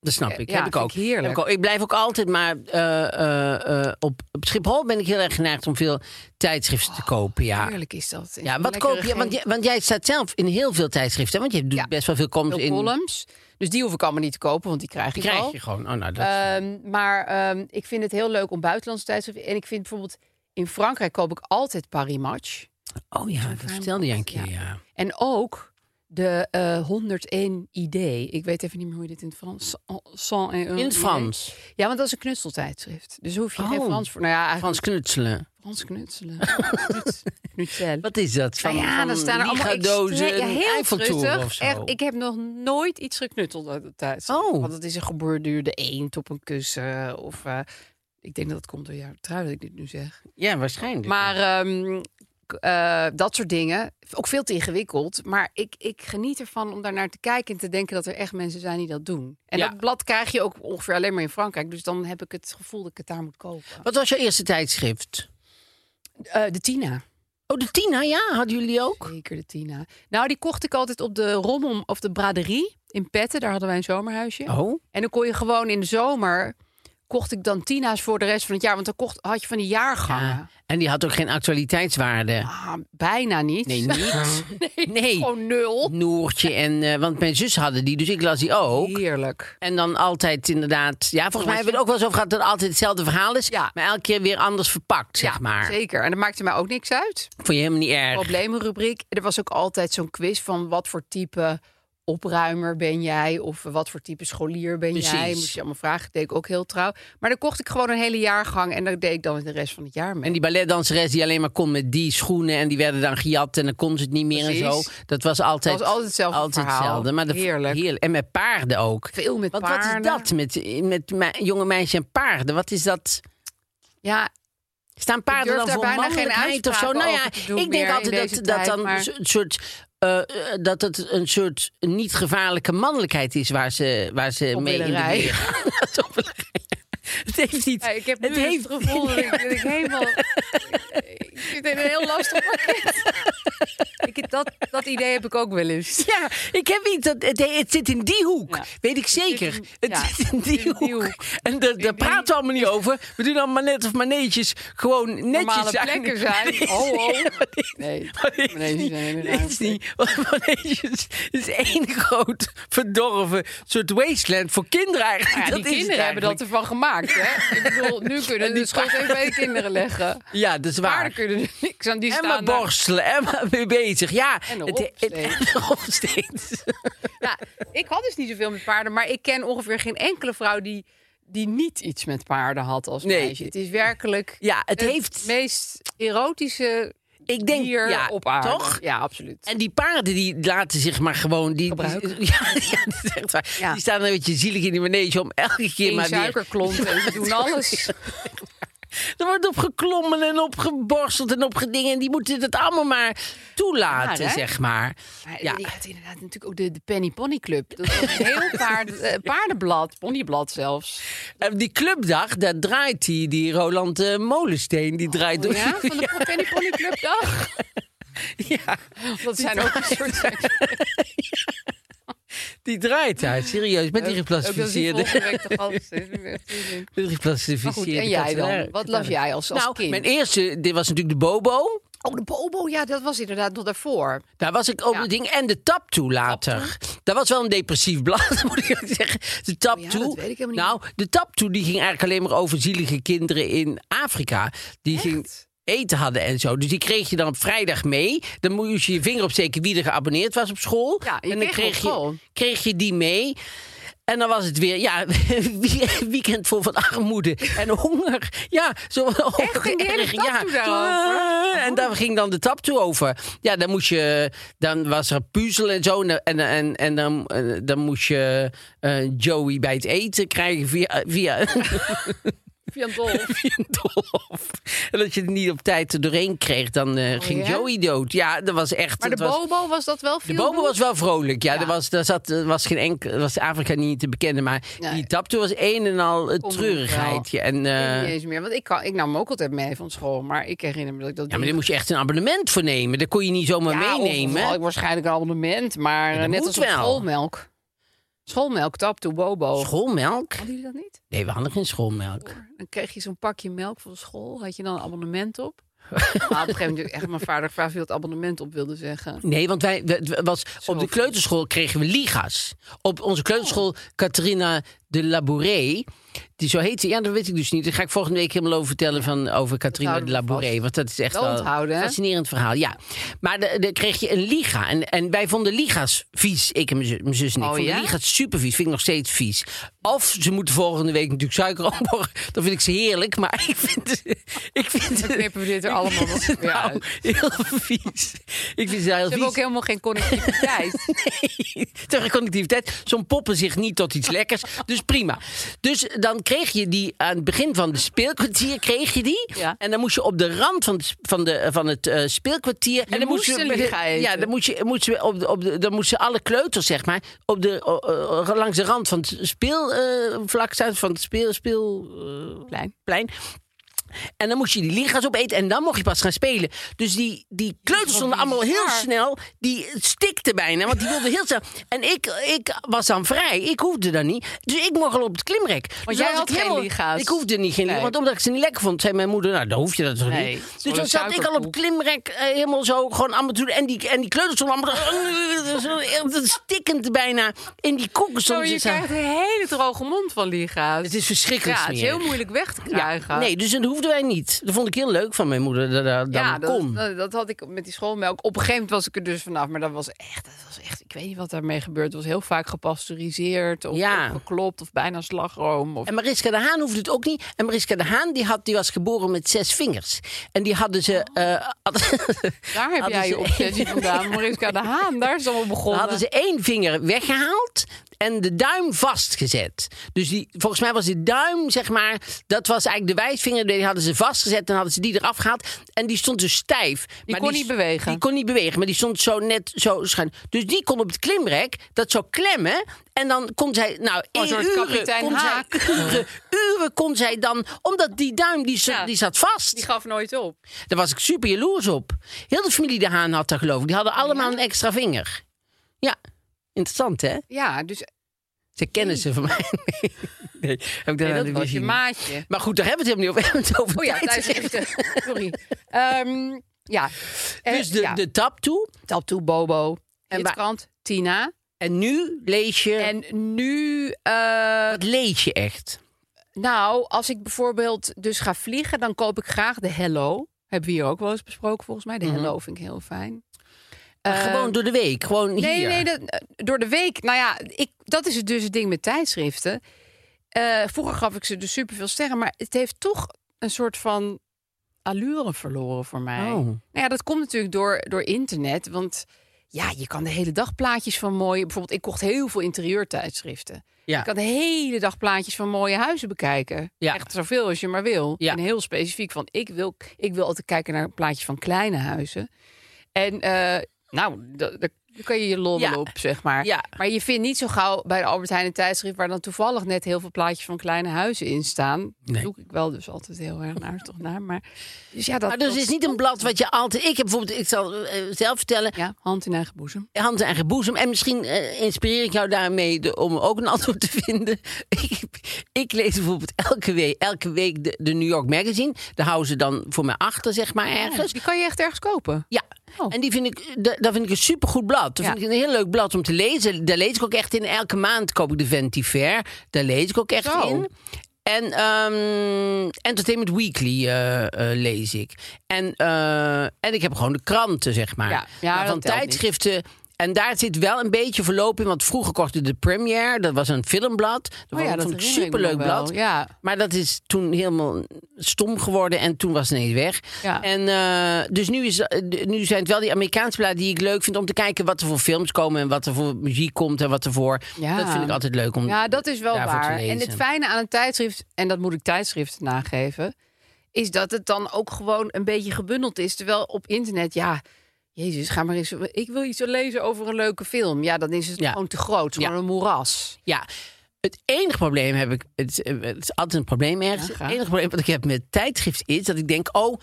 [SPEAKER 1] dat snap ik.
[SPEAKER 2] Eh, Ja,
[SPEAKER 1] heb ik
[SPEAKER 2] vind
[SPEAKER 1] ook.
[SPEAKER 2] ik heerlijk.
[SPEAKER 1] Heb Ik, ook. Ik blijf ook altijd maar eh, eh, eh, op, op Schiphol ben ik heel erg geneigd om veel tijdschriften te kopen. Ja.
[SPEAKER 2] Oh, Heerlijk is dat.
[SPEAKER 1] Ah. Ja,
[SPEAKER 2] Een
[SPEAKER 1] wat
[SPEAKER 2] lekkere
[SPEAKER 1] koop je? Want,
[SPEAKER 2] gele-
[SPEAKER 1] jij- want jij staat zelf in heel veel tijdschriften. hè? Want je doet
[SPEAKER 2] Ja.
[SPEAKER 1] best wel veel columns
[SPEAKER 2] veel
[SPEAKER 1] in.
[SPEAKER 2] columns. Dus die hoef ik allemaal niet te kopen, want die krijg
[SPEAKER 1] Die
[SPEAKER 2] ik
[SPEAKER 1] krijg
[SPEAKER 2] al.
[SPEAKER 1] je gewoon. Oh, nou, dat is-
[SPEAKER 2] Ehm, maar ehm, ik vind het heel leuk om buitenlandse tijdschriften. En ik vind bijvoorbeeld in Frankrijk koop ik altijd Paris Match.
[SPEAKER 1] oh ja, dat
[SPEAKER 2] fijn
[SPEAKER 1] vertelde je een
[SPEAKER 2] blad,
[SPEAKER 1] keer. Ja.
[SPEAKER 2] ja. En ook de eh, 101 idee. Ik weet even niet meer hoe je dit in het Frans. 101
[SPEAKER 1] In het
[SPEAKER 2] idee.
[SPEAKER 1] Frans.
[SPEAKER 2] Ja, want dat is een knutseltijdschrift. Dus hoef je geen
[SPEAKER 1] Oh.
[SPEAKER 2] Frans voor. Nou ja, eigenlijk
[SPEAKER 1] Frans knutselen. <laughs>
[SPEAKER 2] Frans knutselen. Knutsel.
[SPEAKER 1] Wat is dat? Van,
[SPEAKER 2] Nou ja,
[SPEAKER 1] van
[SPEAKER 2] dan staan er allemaal
[SPEAKER 1] Liga-dozen,
[SPEAKER 2] extre- ja,
[SPEAKER 1] een
[SPEAKER 2] heel
[SPEAKER 1] Eiffeltoren
[SPEAKER 2] truttig.
[SPEAKER 1] of zo.
[SPEAKER 2] Echt, ik heb nog nooit iets geknutteld uit de tijd.
[SPEAKER 1] Oh.
[SPEAKER 2] Want het is een geborduurde eend op een kussen. Of, eh, ik denk dat het komt door jouw trui dat ik dit nu zeg.
[SPEAKER 1] Ja, waarschijnlijk.
[SPEAKER 2] Maar ehm, k- eh, dat soort dingen. Ook veel te ingewikkeld. Maar ik, ik geniet ervan om daar naar te kijken en te denken dat er echt mensen zijn die dat doen. En
[SPEAKER 1] Ja.
[SPEAKER 2] dat blad krijg je ook ongeveer alleen maar in Frankrijk. Dus dan heb ik het gevoel dat ik het daar moet kopen.
[SPEAKER 1] Wat was jouw eerste tijdschrift?
[SPEAKER 2] Eh, de Tina.
[SPEAKER 1] Oh, de Tina, ja. Hadden jullie ook?
[SPEAKER 2] Zeker de Tina. Nou, die kocht ik altijd op de Rommel of de Braderie in Petten. Daar hadden wij een zomerhuisje.
[SPEAKER 1] Oh.
[SPEAKER 2] En dan kon je gewoon in de zomer... kocht ik dan Tina's voor de rest van het jaar. Want dan kocht, had je van die jaargangen.
[SPEAKER 1] Ja. En die had ook geen actualiteitswaarde.
[SPEAKER 2] Ah, bijna niet.
[SPEAKER 1] Nee, niet.
[SPEAKER 2] Nee,
[SPEAKER 1] Nee.
[SPEAKER 2] <laughs> Gewoon nul.
[SPEAKER 1] Noertje en... eh, want mijn zus hadden die, dus ik las die ook.
[SPEAKER 2] Heerlijk.
[SPEAKER 1] En dan altijd inderdaad... Ja, volgens mij hebben we het ook wel zo over gehad dat het altijd hetzelfde verhaal is.
[SPEAKER 2] Ja.
[SPEAKER 1] Maar elke keer weer anders verpakt, zeg maar.
[SPEAKER 2] Zeker. En dat maakte mij ook niks uit.
[SPEAKER 1] Vond je helemaal niet erg.
[SPEAKER 2] Problemenrubriek. Er was ook altijd zo'n quiz van wat voor type opruimer ben jij? Of wat voor type scholier ben
[SPEAKER 1] Precies.
[SPEAKER 2] jij? Moest je allemaal vragen. Dat deed ik ook heel trouw. Maar dan kocht ik gewoon een hele jaargang. En dat deed ik dan de rest van het jaar mee.
[SPEAKER 1] En die balletdanseres die alleen maar kon met die schoenen... en die werden dan gejat en dan kon ze het niet meer en
[SPEAKER 2] Precies.
[SPEAKER 1] zo. Dat was altijd,
[SPEAKER 2] Dat was altijd hetzelfde
[SPEAKER 1] altijd
[SPEAKER 2] verhaal.
[SPEAKER 1] hetzelfde. Maar de-
[SPEAKER 2] Heerlijk.
[SPEAKER 1] En met paarden ook.
[SPEAKER 2] Veel met
[SPEAKER 1] Want
[SPEAKER 2] paarden.
[SPEAKER 1] wat is dat met, met me- jonge meisjes en paarden? Wat is dat?
[SPEAKER 2] Ja,
[SPEAKER 1] Staan paarden
[SPEAKER 2] durf
[SPEAKER 1] dan
[SPEAKER 2] daar
[SPEAKER 1] voor
[SPEAKER 2] bijna geen
[SPEAKER 1] mannelijkheid of zo?
[SPEAKER 2] uitspraken
[SPEAKER 1] Nou ja,
[SPEAKER 2] over te doen
[SPEAKER 1] ik denk
[SPEAKER 2] meer in
[SPEAKER 1] altijd
[SPEAKER 2] deze
[SPEAKER 1] dat, dat
[SPEAKER 2] tijd,
[SPEAKER 1] dan
[SPEAKER 2] maar-
[SPEAKER 1] een soort... eh, eh, dat het een soort niet gevaarlijke mannelijkheid is waar ze, waar ze mee in de
[SPEAKER 2] Opwillerij.
[SPEAKER 1] weer gaan. <laughs> Opwillerij. Het heeft niet.
[SPEAKER 2] Ja, ik heb nu dus
[SPEAKER 1] het
[SPEAKER 2] het,
[SPEAKER 1] heeft-
[SPEAKER 2] gevoel dat ik, dat ik
[SPEAKER 1] <laughs>
[SPEAKER 2] helemaal... ik zit in een heel lastig pakket. ik, dat, dat idee heb ik ook wel eens.
[SPEAKER 1] <laughs> Ja, ik heb iets dat het, het zit in die hoek.
[SPEAKER 2] Ja.
[SPEAKER 1] Weet ik zeker.
[SPEAKER 2] in-
[SPEAKER 1] Het
[SPEAKER 2] ja,
[SPEAKER 1] zit in die,
[SPEAKER 2] in die
[SPEAKER 1] hoek.
[SPEAKER 2] hoek.
[SPEAKER 1] <laughs> En daar, daar praten we allemaal niet over. We doen allemaal net of maneetjes gewoon netjes
[SPEAKER 2] Normale
[SPEAKER 1] zijn.
[SPEAKER 2] plekken
[SPEAKER 1] <laughs>
[SPEAKER 2] zijn. Oh, oh. Nee,
[SPEAKER 1] Maneetjes niet.
[SPEAKER 2] maneetjes zijn hele
[SPEAKER 1] Maneetjes
[SPEAKER 2] ruimte.
[SPEAKER 1] niet. Want maneetjes is één <laughs> groot verdorven soort wasteland voor kinderen eigenlijk.
[SPEAKER 2] Ja,
[SPEAKER 1] dat
[SPEAKER 2] die
[SPEAKER 1] is het
[SPEAKER 2] kinderen hebben dat
[SPEAKER 1] eigenlijk.
[SPEAKER 2] ervan gemaakt. Hè? Ik bedoel,
[SPEAKER 1] <laughs>
[SPEAKER 2] nu
[SPEAKER 1] En
[SPEAKER 2] kunnen we
[SPEAKER 1] die
[SPEAKER 2] de schuld even bij de kinderen leggen.
[SPEAKER 1] Ja, dat is
[SPEAKER 2] Maar dan
[SPEAKER 1] waar.
[SPEAKER 2] kunnen ze <laughs> niks aan die
[SPEAKER 1] En
[SPEAKER 2] staan.
[SPEAKER 1] maar
[SPEAKER 2] daar.
[SPEAKER 1] borstelen, en maar mee <laughs> bezig. Ja,
[SPEAKER 2] En
[SPEAKER 1] het- het-
[SPEAKER 2] opsteeds.
[SPEAKER 1] <laughs> en opsteeds.
[SPEAKER 2] Ja, ik had dus niet zoveel met paarden, maar ik ken ongeveer geen enkele vrouw die, die niet iets met paarden had als
[SPEAKER 1] Nee.
[SPEAKER 2] meisje. Het is werkelijk
[SPEAKER 1] <laughs> Ja, het heeft-
[SPEAKER 2] meest erotische
[SPEAKER 1] Ik denk,
[SPEAKER 2] dier
[SPEAKER 1] ja,
[SPEAKER 2] op aarde.
[SPEAKER 1] toch?
[SPEAKER 2] Ja, absoluut.
[SPEAKER 1] En die paarden die laten zich maar gewoon... Die,
[SPEAKER 2] Gebruiken.
[SPEAKER 1] die- <laughs> ja, ja, dat is echt waar.
[SPEAKER 2] Ja.
[SPEAKER 1] Die staan een beetje zielig in die manege om elke keer
[SPEAKER 2] Eén
[SPEAKER 1] maar weer...
[SPEAKER 2] suikerklont en
[SPEAKER 1] <laughs>
[SPEAKER 2] ze doen alles.
[SPEAKER 1] Er wordt op geklommen en op geborsteld en op gedingen. En die moeten het allemaal maar toelaten,
[SPEAKER 2] Raar, hè?
[SPEAKER 1] zeg maar.
[SPEAKER 2] Maar
[SPEAKER 1] Ja.
[SPEAKER 2] Je had inderdaad natuurlijk ook de, de Penny Pony Club. Dat is een
[SPEAKER 1] <laughs>
[SPEAKER 2] heel paard, eh, paardenblad, ponyblad zelfs.
[SPEAKER 1] En die clubdag, daar draait die, die Roland eh, Molensteen. Die draait door.
[SPEAKER 2] Oh, Ja, van de Penny Pony Club dag.
[SPEAKER 1] Ja,
[SPEAKER 2] Dat zijn ook
[SPEAKER 1] <laughs>
[SPEAKER 2] een soort...
[SPEAKER 1] <laughs> die draait daar, serieus. Met die
[SPEAKER 2] Ook dat is die
[SPEAKER 1] geplastificeerde...
[SPEAKER 2] volgende week <laughs> toch alles. Dat is echt zin in.
[SPEAKER 1] Met die
[SPEAKER 2] Maar goed,
[SPEAKER 1] geplastificeerde...
[SPEAKER 2] en jij dan?
[SPEAKER 1] kattenlaar-
[SPEAKER 2] Wat las jij als, als
[SPEAKER 1] Nou,
[SPEAKER 2] kind?
[SPEAKER 1] mijn eerste, dit was natuurlijk de Bobo.
[SPEAKER 2] Oh, de Bobo, ja, dat was inderdaad nog daarvoor.
[SPEAKER 1] Daar was ik ook
[SPEAKER 2] Ja.
[SPEAKER 1] het ding. En de tap toe later. Dat was wel een depressief <laughs> blad, moet ik eerlijk zeggen. De tap
[SPEAKER 2] Oh ja,
[SPEAKER 1] toe.
[SPEAKER 2] dat weet ik helemaal niet
[SPEAKER 1] Nou, de tap toe die ging eigenlijk alleen maar over zielige kinderen in Afrika. Die ging eten hadden en zo. Dus die kreeg je dan op vrijdag mee. Dan moest je je vinger opsteken wie er geabonneerd was op school.
[SPEAKER 2] Ja, je
[SPEAKER 1] en dan
[SPEAKER 2] kreeg hem op
[SPEAKER 1] je,
[SPEAKER 2] school.
[SPEAKER 1] kreeg je die mee. En dan was het weer, ja, <laughs> wie- weekend vol van armoede en honger. Ja, zo ook
[SPEAKER 2] Ging die hele
[SPEAKER 1] erg,
[SPEAKER 2] tap toe Oh.
[SPEAKER 1] ja.
[SPEAKER 2] daarover?
[SPEAKER 1] Ah, En daar ging dan de tap toe over. Ja, dan moest je. Dan was er puzzel en zo. En, en, en, en dan, eh, dan moest je eh, Joey bij het eten krijgen via, via, <laughs>
[SPEAKER 2] Via een dol.
[SPEAKER 1] via een doolhof. En als je het niet op tijd er doorheen kreeg, dan eh, ging
[SPEAKER 2] Oh, ja?
[SPEAKER 1] Joey dood. Ja, dat was echt.
[SPEAKER 2] <laughs> Maar de
[SPEAKER 1] dat was,
[SPEAKER 2] Bobo was dat wel
[SPEAKER 1] de
[SPEAKER 2] veel?
[SPEAKER 1] bomen was wel vrolijk. Ja,
[SPEAKER 2] Ja.
[SPEAKER 1] Er, was, er, zat, er was geen enkel. Was Afrika niet te bekennen. Maar
[SPEAKER 2] Nee.
[SPEAKER 1] die tap toe was een en al eh,
[SPEAKER 2] Kon wel.
[SPEAKER 1] treurigheidje. En. eh,
[SPEAKER 2] niet eens meer, want ik, kan, ik nam hem ook altijd mee van school. Maar ik herinner me dat ik dat
[SPEAKER 1] ja, maar
[SPEAKER 2] ding-
[SPEAKER 1] daar moest je echt een abonnement voor nemen. Daar kon je niet zomaar
[SPEAKER 2] Ja, of-
[SPEAKER 1] meenemen.
[SPEAKER 2] of- waarschijnlijk een abonnement, maar
[SPEAKER 1] dat
[SPEAKER 2] eh, net
[SPEAKER 1] moet
[SPEAKER 2] als op
[SPEAKER 1] wel.
[SPEAKER 2] schoolmelk. Schoolmelk, tap to Bobo.
[SPEAKER 1] Schoolmelk?
[SPEAKER 2] Hadden jullie dat niet?
[SPEAKER 1] Nee, we hadden geen schoolmelk.
[SPEAKER 2] Dan kreeg je zo'n pakje melk van school. Had je dan een abonnement op? <laughs> Maar op een gegeven moment echt mijn vader gevraagd of hij dat abonnement op wilde zeggen.
[SPEAKER 1] Nee, want wij, we- het was, op de
[SPEAKER 2] veel. Oh.
[SPEAKER 1] kleuterschool kregen we liga's. Op onze kleuterschool Catharina de Labouré Die, zo heet ze. Ja, dat weet ik dus niet. Daar ga ik volgende week helemaal over vertellen van, over Katrina de
[SPEAKER 2] houden we
[SPEAKER 1] Labouré.
[SPEAKER 2] vast.
[SPEAKER 1] Want dat is echt
[SPEAKER 2] Wel
[SPEAKER 1] wel
[SPEAKER 2] onthouden, hè?
[SPEAKER 1] fascinerend verhaal. Ja. Maar de- de- kreeg je een liga. En, en wij vonden liga's vies. Ik en mijn zus, mijn zus en ik.
[SPEAKER 2] Oh,
[SPEAKER 1] vonden
[SPEAKER 2] ja?
[SPEAKER 1] liga's super vies. Vind ik nog steeds vies. Of ze moeten volgende week natuurlijk suiker <laughs> opborgen. Dan vind ik ze heerlijk. Maar <laughs> ik vind, ik vind
[SPEAKER 2] Dan <laughs> knippen we dit er allemaal nog
[SPEAKER 1] ze <laughs>
[SPEAKER 2] weer
[SPEAKER 1] nou
[SPEAKER 2] uit.
[SPEAKER 1] heel vies. Ik vind ze heel
[SPEAKER 2] Ze hebben ook
[SPEAKER 1] vies.
[SPEAKER 2] helemaal geen connectiviteit. <laughs>
[SPEAKER 1] Nee, tegen connectiviteit. Zo'n poppen zich niet tot iets lekkers. Dus prima. Dus dan kreeg je die aan het begin van de speelkwartier. Kreeg je die.
[SPEAKER 2] Ja.
[SPEAKER 1] En dan moest je op de rand van, het- van, de, van het eh, speelkwartier. en dan
[SPEAKER 2] moest een liga eten.
[SPEAKER 1] Ja, dan moest je, moest je op de, op de, dan moest je alle kleuters, zeg maar. Op de, o- o- langs de rand van het speelvlak staan. Van het speel, speelplein. plein. En dan moest je die liga's opeten en dan mocht je pas gaan spelen. Dus die, die kleuters stonden allemaal heel snel. Die stikten bijna, want die wilden heel snel. En ik, ik was dan vrij, ik hoefde dan niet. Dus ik mocht al op het klimrek. dus
[SPEAKER 2] jij
[SPEAKER 1] was
[SPEAKER 2] had
[SPEAKER 1] ik
[SPEAKER 2] geen liga's.
[SPEAKER 1] Ik hoefde niet geen
[SPEAKER 2] Nee.
[SPEAKER 1] Want omdat ik ze niet lekker vond, zei mijn moeder... Nou, dan hoef je dat toch
[SPEAKER 2] Nee,
[SPEAKER 1] niet.
[SPEAKER 2] het
[SPEAKER 1] Dus
[SPEAKER 2] is gewoon
[SPEAKER 1] dan
[SPEAKER 2] een
[SPEAKER 1] zat ik al op het
[SPEAKER 2] suikerkoek.
[SPEAKER 1] klimrek eh, helemaal zo gewoon allemaal toe. En die, en die kleuters stonden allemaal... <laughs> zo, eh, stikkend bijna in die koeken.
[SPEAKER 2] Zo,
[SPEAKER 1] stonden
[SPEAKER 2] je
[SPEAKER 1] ze zo.
[SPEAKER 2] krijgt een hele droge mond van liga's.
[SPEAKER 1] Het is verschrikkelijk
[SPEAKER 2] ja, het is
[SPEAKER 1] smerig.
[SPEAKER 2] heel moeilijk weg te krijgen.
[SPEAKER 1] Nee, dus dat hoefden wij niet. Dat vond ik heel leuk van mijn moeder dat dat dan
[SPEAKER 2] ja, dat,
[SPEAKER 1] kon.
[SPEAKER 2] dat, dat had ik met die schoolmelk. Op een gegeven moment was ik er dus vanaf, maar dat was echt, dat was echt ik weet niet wat daarmee gebeurt. Het was heel vaak gepasteuriseerd of,
[SPEAKER 1] Ja.
[SPEAKER 2] of geklopt of bijna slagroom. Of...
[SPEAKER 1] En Mariska de Haan hoefde het ook niet. En Mariska de Haan die had, die was geboren met zes vingers. En die hadden ze... eh, <laughs> hadden-
[SPEAKER 2] Daar heb
[SPEAKER 1] hadden
[SPEAKER 2] jij je
[SPEAKER 1] ze-
[SPEAKER 2] obsessie vandaan. Mariska de Haan, daar is het <laughs> allemaal
[SPEAKER 1] Dan
[SPEAKER 2] begonnen.
[SPEAKER 1] hadden ze één vinger weggehaald en de duim vastgezet. Dus die, volgens mij was die duim, zeg maar, dat was eigenlijk de wijsvinger. Die hadden ze vastgezet en hadden ze die eraf gehaald. En die stond dus stijf. Die
[SPEAKER 2] kon niet bewegen.
[SPEAKER 1] Die kon niet bewegen, maar die stond zo net zo schuin. Dus die kon op het klimrek dat zo klemmen. En dan kon zij, nou,
[SPEAKER 2] Oh, een soort
[SPEAKER 1] uren,
[SPEAKER 2] kapitein
[SPEAKER 1] kon
[SPEAKER 2] Haak.
[SPEAKER 1] zij, uren, uren kon zij dan, omdat die duim, die, zo-
[SPEAKER 2] Ja.
[SPEAKER 1] die zat vast.
[SPEAKER 2] Die gaf nooit op.
[SPEAKER 1] Daar was ik super jaloers op. Heel de familie De Haan had dat geloof ik. Die hadden allemaal een extra vinger. Ja, interessant hè?
[SPEAKER 2] Ja, dus
[SPEAKER 1] Ze kennen ze van mij. Nee, heb ik
[SPEAKER 2] nee,
[SPEAKER 1] aan
[SPEAKER 2] dat
[SPEAKER 1] de
[SPEAKER 2] was je
[SPEAKER 1] visie.
[SPEAKER 2] maatje.
[SPEAKER 1] Maar goed, daar hebben we het helemaal niet over. We hebben het over
[SPEAKER 2] dus Oh ja,
[SPEAKER 1] tijd.
[SPEAKER 2] tijdschriften. <laughs> Sorry. Ehm, ja. Eh,
[SPEAKER 1] Dus de,
[SPEAKER 2] ja.
[SPEAKER 1] de tap toe.
[SPEAKER 2] Tattoo Bobo.
[SPEAKER 1] En
[SPEAKER 2] En Tina.
[SPEAKER 1] En nu lees je...
[SPEAKER 2] En nu, eh,
[SPEAKER 1] wat lees je echt?
[SPEAKER 2] nou, als ik bijvoorbeeld dus ga vliegen, dan koop ik graag de Hello. Hebben we hier ook wel eens besproken, volgens mij. De Hello vind ik heel fijn. Eh,
[SPEAKER 1] Gewoon door de week. Gewoon
[SPEAKER 2] nee,
[SPEAKER 1] hier.
[SPEAKER 2] nee, dat, eh, door de week. Nou ja, ik, dat is het dus het ding met tijdschriften. Eh, vroeger gaf ik ze dus superveel sterren, maar het heeft toch een soort van allure verloren voor mij.
[SPEAKER 1] Oh.
[SPEAKER 2] Nou ja, dat komt natuurlijk door, door internet, want ja, je kan de hele dag plaatjes van mooie. Bijvoorbeeld, ik kocht heel veel interieurtijdschriften.
[SPEAKER 1] Ja.
[SPEAKER 2] Ik kan de hele dag plaatjes van mooie huizen bekijken.
[SPEAKER 1] Ja.
[SPEAKER 2] Echt zoveel als je maar wil.
[SPEAKER 1] Ja.
[SPEAKER 2] En heel specifiek, want ik wil, ik wil altijd kijken naar plaatjes van kleine huizen. En eh, nou, da- da- daar kan je je lol wel
[SPEAKER 1] Ja.
[SPEAKER 2] op, zeg maar.
[SPEAKER 1] Ja.
[SPEAKER 2] Maar je vindt niet zo gauw bij de Albert Heijn een tijdschrift... waar dan toevallig net heel veel plaatjes van kleine huizen in staan.
[SPEAKER 1] Nee.
[SPEAKER 2] Zoek ik wel dus altijd heel erg naar, toch naar. Maar, dus ja, dat,
[SPEAKER 1] Maar dus
[SPEAKER 2] dat
[SPEAKER 1] het is niet een blad wat je altijd... Ik heb bijvoorbeeld, ik zal eh, zelf vertellen...
[SPEAKER 2] Ja, hand in eigen boezem.
[SPEAKER 1] hand en eigen boezem. En misschien eh, inspireer ik jou daarmee de- om ook een antwoord te vinden. <laughs> ik, ik lees bijvoorbeeld elke week, elke week de, de New York Magazine. Daar houden ze dan voor mij achter, zeg maar, ergens.
[SPEAKER 2] Die kan je echt ergens kopen.
[SPEAKER 1] Ja.
[SPEAKER 2] Oh.
[SPEAKER 1] En die vind ik, eh, da- dat vind ik een supergoed blad. Dat
[SPEAKER 2] Ja.
[SPEAKER 1] vind ik een heel leuk blad om te lezen. Daar lees ik ook echt in. Elke maand koop ik de Ventiver. Daar lees ik ook echt
[SPEAKER 2] Zo.
[SPEAKER 1] in. En ehm, Entertainment Weekly eh, eh, lees ik. En, eh, en ik heb gewoon de kranten, zeg maar.
[SPEAKER 2] Ja. Ja,
[SPEAKER 1] maar
[SPEAKER 2] dat
[SPEAKER 1] van
[SPEAKER 2] telt niet.
[SPEAKER 1] tijdschriften... En daar zit wel een beetje verloop in. Want vroeger kocht ik de Premiere. Dat was een filmblad. Dat
[SPEAKER 2] Oh ja,
[SPEAKER 1] vond ik een
[SPEAKER 2] herinner ik me
[SPEAKER 1] superleuk
[SPEAKER 2] nog wel.
[SPEAKER 1] blad.
[SPEAKER 2] Ja.
[SPEAKER 1] Maar dat is toen helemaal stom geworden en toen was het ineens weg.
[SPEAKER 2] Ja.
[SPEAKER 1] En, eh, dus nu, is, eh, de- nu zijn het wel die Amerikaanse bladen die ik leuk vind om te kijken wat er voor films komen en wat er voor muziek komt en wat er voor.
[SPEAKER 2] Ja.
[SPEAKER 1] Dat vind ik altijd leuk om.
[SPEAKER 2] Ja, dat is wel
[SPEAKER 1] daarvoor te
[SPEAKER 2] waar. En
[SPEAKER 1] lezen.
[SPEAKER 2] het fijne aan een tijdschrift, en dat moet ik tijdschriften nageven, is dat het dan ook gewoon een beetje gebundeld is. Terwijl op internet, ja, Jezus, ga maar eens. Ik wil iets lezen over een leuke film. Ja, dan is het
[SPEAKER 1] Ja.
[SPEAKER 2] gewoon te groot. Gewoon
[SPEAKER 1] Ja.
[SPEAKER 2] een moeras.
[SPEAKER 1] Ja. Het enige probleem heb ik. Het, eh, het is altijd een probleem ergens.
[SPEAKER 2] Ja, graag.
[SPEAKER 1] het enige probleem wat ik heb met tijdschrift is dat ik denk: oh,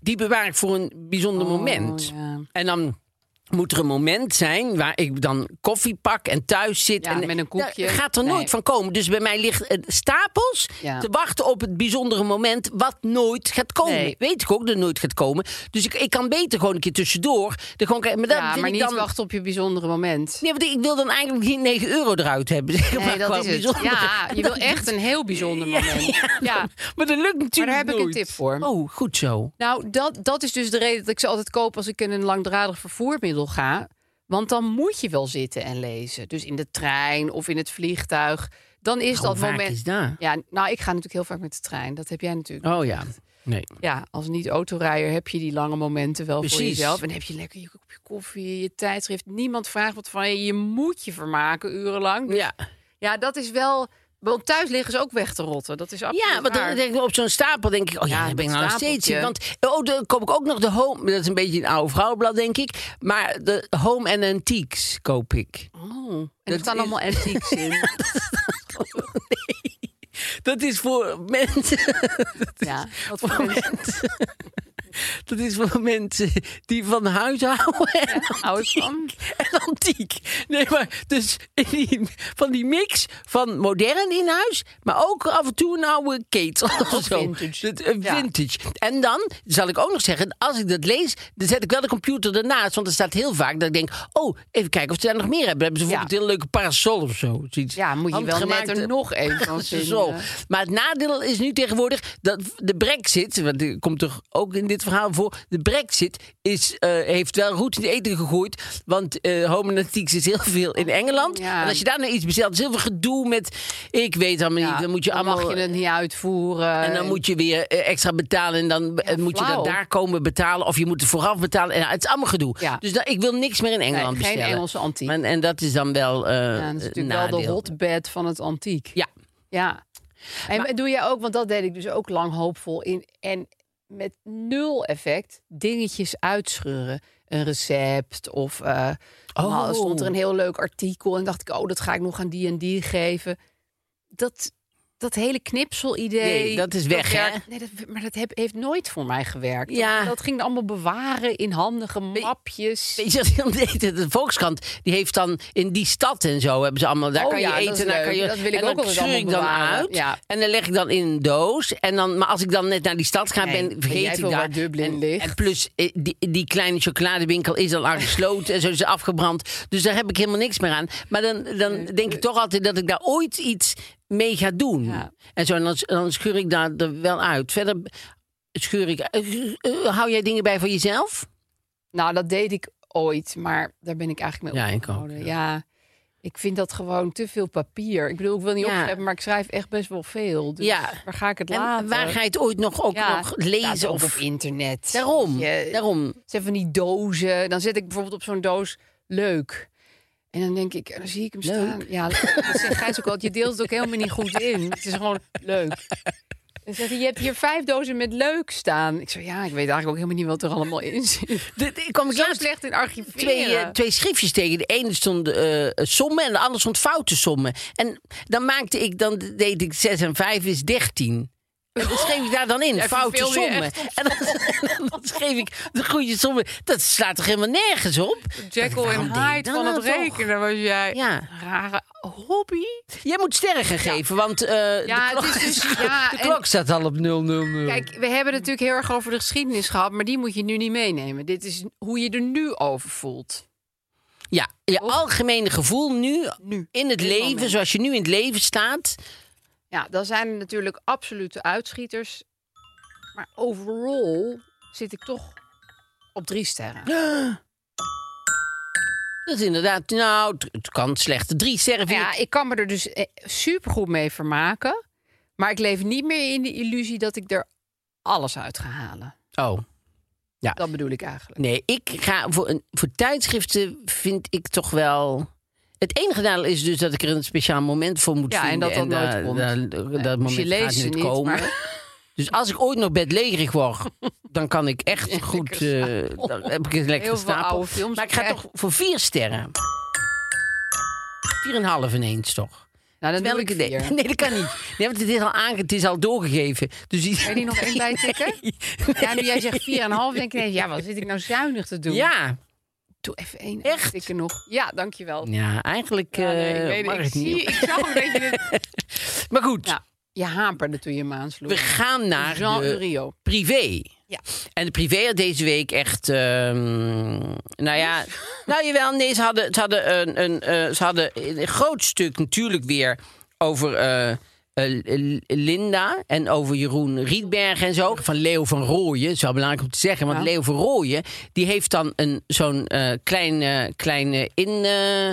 [SPEAKER 1] die bewaar ik voor een bijzonder moment.
[SPEAKER 2] Oh, ja.
[SPEAKER 1] En dan moet er een moment zijn waar ik dan koffie pak en thuis zit.
[SPEAKER 2] Ja,
[SPEAKER 1] en,
[SPEAKER 2] met een koekje.
[SPEAKER 1] Daar gaat er
[SPEAKER 2] Nee.
[SPEAKER 1] nooit van komen. Dus bij mij ligt eh, stapels
[SPEAKER 2] Ja.
[SPEAKER 1] te wachten op het bijzondere moment wat nooit gaat komen.
[SPEAKER 2] Nee.
[SPEAKER 1] Weet ik ook dat het nooit gaat komen. Dus ik, ik kan beter gewoon een keer tussendoor. Er gewoon, kijken. maar dat
[SPEAKER 2] ja,
[SPEAKER 1] vind
[SPEAKER 2] maar
[SPEAKER 1] ik
[SPEAKER 2] niet
[SPEAKER 1] dan,
[SPEAKER 2] wachten op je bijzondere moment.
[SPEAKER 1] Nee, want ik wil dan eigenlijk geen 9 euro eruit hebben. zeg maar,
[SPEAKER 2] Nee, dat
[SPEAKER 1] qua
[SPEAKER 2] is het.
[SPEAKER 1] bijzondere.
[SPEAKER 2] Ja, je wil
[SPEAKER 1] <laughs> Dat-
[SPEAKER 2] echt een heel bijzonder moment. Ja,
[SPEAKER 1] Maar dat lukt natuurlijk
[SPEAKER 2] maar daar heb ik een
[SPEAKER 1] nooit.
[SPEAKER 2] tip voor.
[SPEAKER 1] Oh, goed zo.
[SPEAKER 2] Nou, dat, dat is dus de reden dat ik ze altijd koop als ik in een langdradig vervoermiddel ga. Want dan moet je wel zitten en lezen. Dus in de trein of in het vliegtuig. Dan is
[SPEAKER 1] Hoe
[SPEAKER 2] dat
[SPEAKER 1] vaak
[SPEAKER 2] moment.
[SPEAKER 1] is dat?
[SPEAKER 2] Ja, nou, ik ga natuurlijk heel vaak met de trein. Dat heb jij natuurlijk.
[SPEAKER 1] Oh ja. Nee.
[SPEAKER 2] Ja, als niet-autorijder heb je die lange momenten wel voor
[SPEAKER 1] Precies.
[SPEAKER 2] jezelf. En heb je lekker je kopje koffie, je tijdschrift. Niemand vraagt wat van je. Je moet je vermaken urenlang. Dus
[SPEAKER 1] Ja.
[SPEAKER 2] ja, dat is wel... Want thuis liggen ze ook weg te rotten. Dat is absoluut
[SPEAKER 1] Ja, want dan
[SPEAKER 2] waar.
[SPEAKER 1] denk ik op zo'n stapel denk ik, oh ja,
[SPEAKER 2] Ja,
[SPEAKER 1] daar ben ik
[SPEAKER 2] dat
[SPEAKER 1] nou nog steeds in. Want
[SPEAKER 2] stapeltje.
[SPEAKER 1] oh, dan koop ik ook nog de home. Dat is een beetje een oude vrouwenblad, denk ik. Maar de home en antiques koop ik.
[SPEAKER 2] Oh, en er staan
[SPEAKER 1] is-
[SPEAKER 2] allemaal antiques
[SPEAKER 1] <laughs>
[SPEAKER 2] in.
[SPEAKER 1] Dat is voor mensen.
[SPEAKER 2] ja, <laughs> wat voor
[SPEAKER 1] Voor
[SPEAKER 2] mensen-
[SPEAKER 1] mensen. <laughs> Dat is voor mensen die van huis houden en,
[SPEAKER 2] oud van.
[SPEAKER 1] <laughs> en antiek. Nee, maar dus in die- van die mix van modern in huis, maar ook af en toe een oude ketel of zo.
[SPEAKER 2] vintage.
[SPEAKER 1] Dat, eh,
[SPEAKER 2] Ja.
[SPEAKER 1] vintage. En dan zal ik ook nog zeggen, als ik dat lees, dan zet ik wel de computer ernaast. Want er staat heel vaak dat ik denk, oh, even kijken of ze daar nog meer hebben. Dan hebben ze
[SPEAKER 2] Ja.
[SPEAKER 1] bijvoorbeeld een heel leuke parasol of zo. Zoiets
[SPEAKER 2] Ja, moet je wel net
[SPEAKER 1] handgemaakt,
[SPEAKER 2] er
[SPEAKER 1] eh,
[SPEAKER 2] nog één <laughs> van
[SPEAKER 1] Zo, Zo.
[SPEAKER 2] vinden.
[SPEAKER 1] Maar het nadeel is nu tegenwoordig dat de brexit, want die komt toch ook in dit verhaal voor, de brexit is, eh, heeft wel goed in het eten gegooid, want eh homonatiek is heel veel in Engeland.
[SPEAKER 2] Ja.
[SPEAKER 1] En als je daar nou iets bestelt, is heel veel gedoe met, ik weet allemaal
[SPEAKER 2] Ja,
[SPEAKER 1] niet, dan moet je allemaal...
[SPEAKER 2] mag je het niet uitvoeren.
[SPEAKER 1] en dan moet je weer eh, extra betalen en dan eh, moet je
[SPEAKER 2] flauw.
[SPEAKER 1] dat daar komen betalen. Of je moet het vooraf betalen. En, nou, het is allemaal gedoe.
[SPEAKER 2] Ja.
[SPEAKER 1] Dus dat, ik wil niks meer in Engeland
[SPEAKER 2] geen
[SPEAKER 1] bestellen.
[SPEAKER 2] Engelse antiek.
[SPEAKER 1] En, en dat is dan wel eh
[SPEAKER 2] Ja, dat is
[SPEAKER 1] een
[SPEAKER 2] natuurlijk wel de
[SPEAKER 1] nadeel.
[SPEAKER 2] hotbed van het antiek.
[SPEAKER 1] Ja.
[SPEAKER 2] Ja. En doe je ook, want dat deed ik dus ook lang hoopvol in. En met nul effect dingetjes uitscheuren. Een recept of eh
[SPEAKER 1] Oh.
[SPEAKER 2] nou, stond er een heel leuk artikel. En dacht ik, oh, dat ga ik nog aan die en die geven. Dat, dat hele knipsel-idee.
[SPEAKER 1] Nee, dat is weg, hè?
[SPEAKER 2] werkt- Nee, dat, maar dat heb- heeft nooit voor mij gewerkt.
[SPEAKER 1] Ja.
[SPEAKER 2] Dat, dat ging allemaal bewaren in handige mapjes.
[SPEAKER 1] Weet je wat heel <laughs> deed? De Volkskrant die heeft dan in die stad en zo hebben ze allemaal. Daar
[SPEAKER 2] Oh
[SPEAKER 1] kan
[SPEAKER 2] ja,
[SPEAKER 1] je
[SPEAKER 2] dat is
[SPEAKER 1] eten, daar
[SPEAKER 2] leuk.
[SPEAKER 1] kan je.
[SPEAKER 2] Dat wil ik
[SPEAKER 1] en dan
[SPEAKER 2] ook altijd
[SPEAKER 1] scheur ik
[SPEAKER 2] allemaal
[SPEAKER 1] dan
[SPEAKER 2] bewaren.
[SPEAKER 1] uit.
[SPEAKER 2] Ja.
[SPEAKER 1] En dan leg ik dan in een doos. En dan, maar als ik dan net naar die stad ga,
[SPEAKER 2] Nee,
[SPEAKER 1] ben,
[SPEAKER 2] weet
[SPEAKER 1] vergeet
[SPEAKER 2] jij
[SPEAKER 1] ik
[SPEAKER 2] veel
[SPEAKER 1] daar.
[SPEAKER 2] waar Dublin
[SPEAKER 1] en,
[SPEAKER 2] ligt?
[SPEAKER 1] en plus eh, die, die kleine chocoladewinkel is al aangesloten en zo is ze afgebrand. Dus daar heb ik helemaal niks meer aan. Maar dan, dan denk ik toch altijd dat ik daar ooit iets mee ga doen.
[SPEAKER 2] Ja.
[SPEAKER 1] En zo en dan, dan scheur ik daar er wel uit. Verder scheur ik. eh, eh, hou jij dingen bij voor jezelf?
[SPEAKER 2] Nou, dat deed ik ooit, maar daar ben ik eigenlijk mee
[SPEAKER 1] Ja, ik ook,
[SPEAKER 2] opgehouden. ja. ik vind dat gewoon te veel papier. Ik bedoel, ik wil niet
[SPEAKER 1] Ja.
[SPEAKER 2] opschrijven, maar ik schrijf echt best wel veel. Dus
[SPEAKER 1] Ja.
[SPEAKER 2] waar ga ik het laten?
[SPEAKER 1] En waar ga je het ooit nog, ook
[SPEAKER 2] Ja,
[SPEAKER 1] nog
[SPEAKER 2] staat
[SPEAKER 1] lezen?
[SPEAKER 2] ook
[SPEAKER 1] Of...
[SPEAKER 2] op internet.
[SPEAKER 1] Daarom,
[SPEAKER 2] Je-
[SPEAKER 1] daarom.
[SPEAKER 2] Zet van die dozen. Dan zet ik bijvoorbeeld op zo'n doos leuk. En dan denk ik, dan zie ik hem staan. Ja, dat zegt Gijs ook al. Je deelt het ook helemaal niet goed in. Het is gewoon leuk. Dan zegt hij, je hebt hier vijf dozen met leuk staan. Ik zo, ja, ik weet eigenlijk ook helemaal niet wat er allemaal in zit.
[SPEAKER 1] De- de- Ik kwam ik
[SPEAKER 2] Zo
[SPEAKER 1] laatst
[SPEAKER 2] slecht in archiveren.
[SPEAKER 1] twee, eh, twee schriftjes tegen. De ene stond eh, sommen en de andere stond foute sommen. En dan maakte ik, dan deed ik 6 en 5 is 13. En dat schreef ik daar dan in,
[SPEAKER 2] Jij
[SPEAKER 1] foute
[SPEAKER 2] verveelde je
[SPEAKER 1] sommen. En
[SPEAKER 2] echt op
[SPEAKER 1] dan, <laughs> en dan schreef ik de goede sommen. Dat slaat toch helemaal nergens op?
[SPEAKER 2] Jekyll
[SPEAKER 1] Waarom
[SPEAKER 2] en
[SPEAKER 1] deed je
[SPEAKER 2] Hyde
[SPEAKER 1] dat
[SPEAKER 2] van
[SPEAKER 1] nou
[SPEAKER 2] het
[SPEAKER 1] toch?
[SPEAKER 2] rekenen was jij.
[SPEAKER 1] Ja.
[SPEAKER 2] Rare hobby.
[SPEAKER 1] Jij moet sterren gaan geven, want eh,
[SPEAKER 2] Ja,
[SPEAKER 1] de,
[SPEAKER 2] het
[SPEAKER 1] klok,
[SPEAKER 2] is
[SPEAKER 1] <laughs>
[SPEAKER 2] dus- ja,
[SPEAKER 1] de
[SPEAKER 2] en-
[SPEAKER 1] klok staat al op 000.
[SPEAKER 2] Kijk, we hebben het natuurlijk heel erg over de geschiedenis gehad, maar die moet je nu niet meenemen. Dit is hoe je er nu over voelt.
[SPEAKER 1] Ja, je algemene gevoel nu,
[SPEAKER 2] Nu,
[SPEAKER 1] in het
[SPEAKER 2] dit
[SPEAKER 1] leven,
[SPEAKER 2] moment.
[SPEAKER 1] zoals je nu in het leven staat.
[SPEAKER 2] Ja, dan zijn er natuurlijk absolute uitschieters. Maar overal zit ik toch op drie sterren.
[SPEAKER 1] Dat is inderdaad, nou, het- het kan slechte drie sterren. vind
[SPEAKER 2] Ja,
[SPEAKER 1] ik.
[SPEAKER 2] ik kan me er dus eh, supergoed mee vermaken. Maar ik leef niet meer in de illusie dat ik er alles uit ga halen.
[SPEAKER 1] Oh,
[SPEAKER 2] Dat bedoel ik eigenlijk.
[SPEAKER 1] nee, ik ga voor, een, voor tijdschriften vind ik toch wel. Het enige nadeel is dus dat ik er een speciaal moment voor moet
[SPEAKER 2] Ja, en
[SPEAKER 1] vinden.
[SPEAKER 2] dat dat nooit
[SPEAKER 1] daar-
[SPEAKER 2] komt.
[SPEAKER 1] daar-
[SPEAKER 2] Nee,
[SPEAKER 1] dat
[SPEAKER 2] dus
[SPEAKER 1] moment
[SPEAKER 2] je leest
[SPEAKER 1] gaat
[SPEAKER 2] ze
[SPEAKER 1] niet
[SPEAKER 2] niet,
[SPEAKER 1] komen.
[SPEAKER 2] maar-
[SPEAKER 1] <laughs> Dus als ik ooit nog bedlegerig
[SPEAKER 2] <laughs>
[SPEAKER 1] word, dan kan ik echt goed. eh, dan heb ik een lekkere
[SPEAKER 2] Heel veel
[SPEAKER 1] stapel.
[SPEAKER 2] oude films Eh.
[SPEAKER 1] maar ik ga
[SPEAKER 2] bekijken.
[SPEAKER 1] toch voor vier sterren. Vier en een half ineens toch?
[SPEAKER 2] Nou, dan
[SPEAKER 1] Welke
[SPEAKER 2] doe ik vier.
[SPEAKER 1] <laughs> Nee, dat kan niet. Nee, want het is al, aange, het is al doorgegeven. Dus die-
[SPEAKER 2] Kan je die nog één
[SPEAKER 1] <laughs>
[SPEAKER 2] bij tikken? Ja, nu jij zegt 4,5, denk ik, nee, ja, wat zit ik nou zuinig te doen?
[SPEAKER 1] Ja.
[SPEAKER 2] Doe even één.
[SPEAKER 1] Echt?
[SPEAKER 2] Ik nog. Ja, dankjewel.
[SPEAKER 1] Ja, eigenlijk
[SPEAKER 2] Ja, nee, ik
[SPEAKER 1] eh,
[SPEAKER 2] weet
[SPEAKER 1] mag
[SPEAKER 2] het. Ik,
[SPEAKER 1] het niet.
[SPEAKER 2] zie, ik zag
[SPEAKER 1] <laughs>
[SPEAKER 2] ook dat je dit...
[SPEAKER 1] Maar goed,
[SPEAKER 2] Ja, je haperde toen je hem aansloeg.
[SPEAKER 1] we gaan naar
[SPEAKER 2] Jean
[SPEAKER 1] de
[SPEAKER 2] Rio.
[SPEAKER 1] privé.
[SPEAKER 2] Ja.
[SPEAKER 1] En de privé had deze week echt... ehm, nou ja, <laughs> nou jawel, nee, ze hadden, ze, hadden een, een, eh, ze hadden een groot stuk natuurlijk weer over... eh, eh, L- Linda en over Jeroen Rietberg en zo. Van Leo van Rooyen, dat is wel belangrijk om te zeggen. Want
[SPEAKER 2] Ja.
[SPEAKER 1] Leo van Rooyen, die heeft dan een, zo'n eh kleine, kleine in... eh,